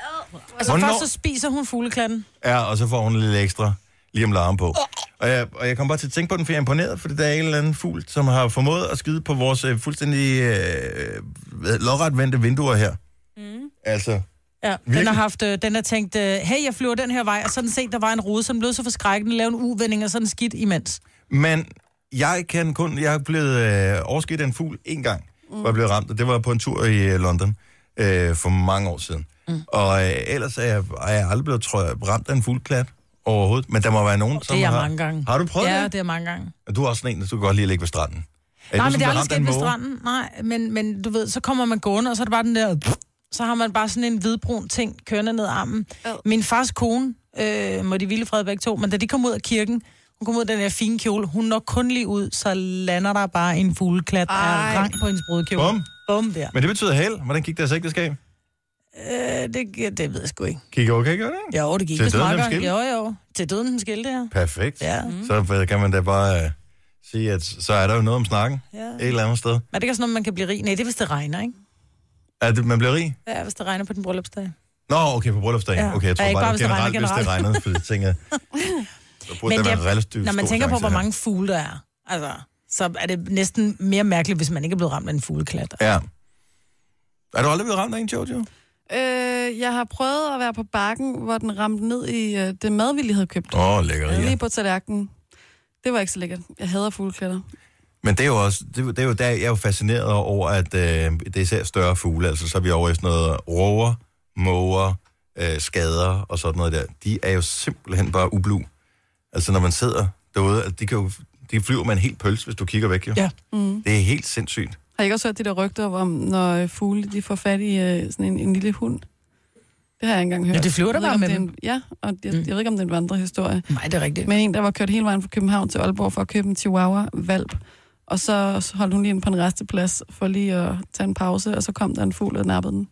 Speaker 8: Altså
Speaker 1: Hvornår-
Speaker 8: først så spiser hun fugleklatten.
Speaker 1: Ja, og så får hun lidt ekstra lige om larmen på. Og jeg, og jeg kom bare til at tænke på den, for jeg er imponeret, for det er en eller anden fugl, som har formået at skide på vores øh, fuldstændig øh, lodretvendte vinduer her. Mm. Altså,
Speaker 8: Ja, den har,
Speaker 1: Virkelig?
Speaker 8: haft, øh, den har tænkt, øh, hey, jeg flyver den her vej, og sådan set, der var en rode, som lød så forskrækkende, lavede en uvending og sådan skidt imens.
Speaker 1: Men jeg kan kun... Jeg er blevet øh, overskidt af en fugl en gang, mm. hvor jeg blev ramt, og det var på en tur i øh, London øh, for mange år siden. Mm. Og øh, ellers er jeg, er jeg aldrig blevet tror jeg, ramt af en fuglklat overhovedet, men der må være nogen, som
Speaker 8: Det er jeg
Speaker 1: har...
Speaker 8: mange gange.
Speaker 1: Har du prøvet
Speaker 8: ja, Ja,
Speaker 1: det?
Speaker 8: det er mange gange.
Speaker 1: Og Du er også sådan en, der du kan godt lide at ligge ved stranden. Er
Speaker 8: Nej,
Speaker 1: du
Speaker 8: men det er
Speaker 1: sådan
Speaker 8: aldrig
Speaker 1: blevet ramt af en
Speaker 8: sket ved
Speaker 1: måge?
Speaker 8: stranden. Nej, men, men du ved, så kommer man gående, og så er det bare den der... Så har man bare sådan en hvidbrun ting kørende ned ad armen. Min fars kone, øh, må de vilde fred begge to, men da de kom ud af kirken, hun kom ud af den der fine kjole, hun når kun lige ud, så lander der bare en fugleklat af rang på hendes brudekjole.
Speaker 1: Bum.
Speaker 8: Bum der.
Speaker 1: Men det betyder held. Hvordan gik deres ægteskab?
Speaker 8: Øh, det, det ved jeg sgu ikke.
Speaker 1: Gik okay, gjorde det?
Speaker 8: Jo, det gik
Speaker 1: Til
Speaker 8: vist
Speaker 1: døden
Speaker 8: meget
Speaker 1: dem
Speaker 8: godt.
Speaker 1: skilte?
Speaker 8: Jo, jo. Til døden den skilte, ja.
Speaker 1: Perfekt. Mm.
Speaker 8: Ja.
Speaker 1: Så hvad, kan man da bare øh, sige, at så er der jo noget om snakken. Ja. Et eller andet sted.
Speaker 8: Er det ikke sådan, at man kan blive rig? Nej, det er, hvis det regner, ikke?
Speaker 1: At man bliver rig?
Speaker 8: Ja, hvis det regner på den bryllupsdag.
Speaker 1: Nå, okay, på bryllupsdagen.
Speaker 8: Ja.
Speaker 1: Okay, jeg tror
Speaker 8: Ja, ikke
Speaker 1: bare,
Speaker 8: bare,
Speaker 1: det
Speaker 8: hvis det
Speaker 1: var
Speaker 8: regner
Speaker 1: generelt, hvis det regnede,
Speaker 8: generelt.
Speaker 1: for jeg tænker,
Speaker 8: *laughs*
Speaker 1: der burde der være en relativt
Speaker 8: når man
Speaker 1: stor
Speaker 8: tænker på,
Speaker 1: chance
Speaker 8: hvor
Speaker 1: her.
Speaker 8: mange fugle der er, altså, så er det næsten mere mærkeligt, hvis man ikke er blevet ramt af en fugleklat.
Speaker 1: Ja. Er du aldrig blevet ramt af en, Jojo?
Speaker 4: Øh, jeg har prøvet at være på bakken, hvor den ramte ned i øh, det mad, vi lige havde købt.
Speaker 1: Åh, oh, lækkerier.
Speaker 4: Lige på tallerkenen. Det var ikke så lækkert. Jeg hader fugleklæder.
Speaker 1: Men det er jo også, det, det er jo der, jeg er jo fascineret over, at øh, det er især større fugle, altså så er vi over i sådan noget roer, måger, øh, skader og sådan noget der. De er jo simpelthen bare ublu. Altså når man sidder derude, at de, kan jo, de flyver med en helt pølse, hvis du kigger væk jo.
Speaker 8: Ja.
Speaker 4: Mm.
Speaker 1: Det er helt sindssygt.
Speaker 4: Har I ikke også hørt de der rygter om, når øh, fugle de får fat i øh, sådan en, en lille hund? Det har jeg ikke engang hørt.
Speaker 8: Ja, det flyver
Speaker 4: Jeg
Speaker 8: da
Speaker 4: ved
Speaker 8: bare
Speaker 4: ikke, om
Speaker 8: med Mm.
Speaker 4: det er en- Ja, og jeg, jeg ved ikke, om det er en vandrehistorie.
Speaker 8: Nej, det er rigtigt.
Speaker 4: Men en, der var kørt hele vejen fra København til Aalborg for at købe en chihuahua-valp. Og så holdt hun lige ind på en resteplads for lige at tage en pause, og så kom der en fugl og nappede den.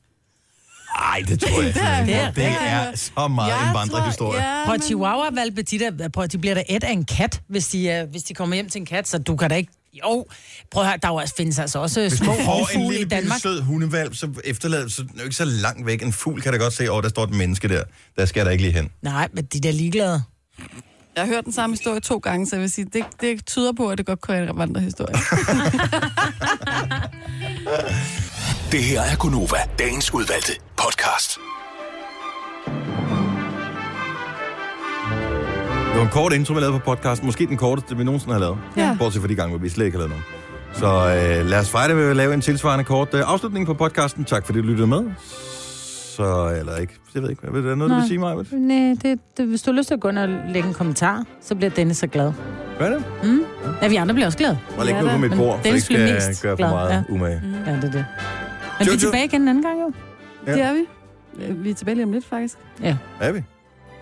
Speaker 1: Nej, det tror jeg
Speaker 8: *laughs*
Speaker 4: Det er-
Speaker 1: ikke. Det
Speaker 4: det er-
Speaker 1: er så meget en vandrehistorie.
Speaker 8: Prøv at chihuahua valpe de, der, prøv, at de bliver da et af en kat, hvis de, er, hvis de kommer hjem til en kat, så du kan da ikke... Jo, prøv at høre, der er jo også, findes altså også
Speaker 1: Hvis
Speaker 8: små
Speaker 1: man får en
Speaker 8: rovfugle i
Speaker 1: lille bitte
Speaker 8: Danmark.
Speaker 1: sød hundevalp, så efterlader så den er jo ikke så langt væk. En fugl kan da godt se, åh, oh, der står et menneske der. Der skal jeg da ikke lige hen.
Speaker 8: Nej, men de der ligeglade.
Speaker 4: Jeg har hørt den samme historie to gange, så jeg vil sige, det, det tyder på, at det godt kunne være en *laughs* vandrehistorie.
Speaker 7: Det her er Gunova, dagens udvalgte podcast.
Speaker 1: Det var en kort intro, vi lavede på podcasten. Måske den korteste, vi nogensinde har lavet.
Speaker 4: Ja.
Speaker 1: Bortset fra de gange, hvor vi slet ikke har lavet nogen. Så øh, lad os fejre det ved at lave en tilsvarende kort øh, afslutning på podcasten. Tak fordi du lyttede med. Så, eller ikke. Jeg ved ikke. Er der noget, du vil sige mig?
Speaker 8: Nej, det, det, hvis du har lyst til at gå ind og lægge en kommentar, så bliver Dennis så glad.
Speaker 1: Hvad er det?
Speaker 8: Mm. Ja, vi andre bliver også glade.
Speaker 1: Bare læg noget på mit
Speaker 8: Men
Speaker 1: bord, så
Speaker 8: Dennis
Speaker 1: jeg
Speaker 8: bliver
Speaker 1: ikke
Speaker 8: mest
Speaker 1: skal gøre for
Speaker 8: glad,
Speaker 1: meget
Speaker 8: ja.
Speaker 1: umage.
Speaker 8: Mm. Ja, det er det. Men vi
Speaker 1: Jojo.
Speaker 8: er tilbage igen en anden gang, jo.
Speaker 1: Ja. Det er
Speaker 4: vi. Vi er tilbage lige om lidt, faktisk.
Speaker 8: Ja.
Speaker 1: Er vi?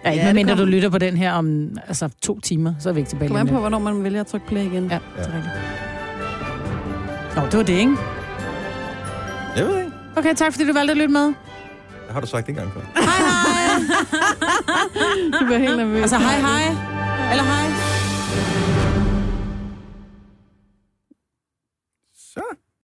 Speaker 8: Ja, ikke
Speaker 4: Ja,
Speaker 8: ja,
Speaker 4: det
Speaker 8: mindre du
Speaker 4: kommer.
Speaker 8: lytter på den her om altså, to timer, så er vi ikke tilbage
Speaker 4: Kom an
Speaker 8: lige om
Speaker 4: på, hvornår man vælger at trykke play igen.
Speaker 8: Ja,
Speaker 1: det
Speaker 8: er rigtigt. lidt. Nå, det var det, ikke?
Speaker 1: Jeg ved ikke.
Speaker 8: Okay, tak fordi du valgte at lytte med.
Speaker 1: Det har du sagt en gang før.
Speaker 4: du bliver helt nervøs.
Speaker 8: Altså, hej hej. Eller hej.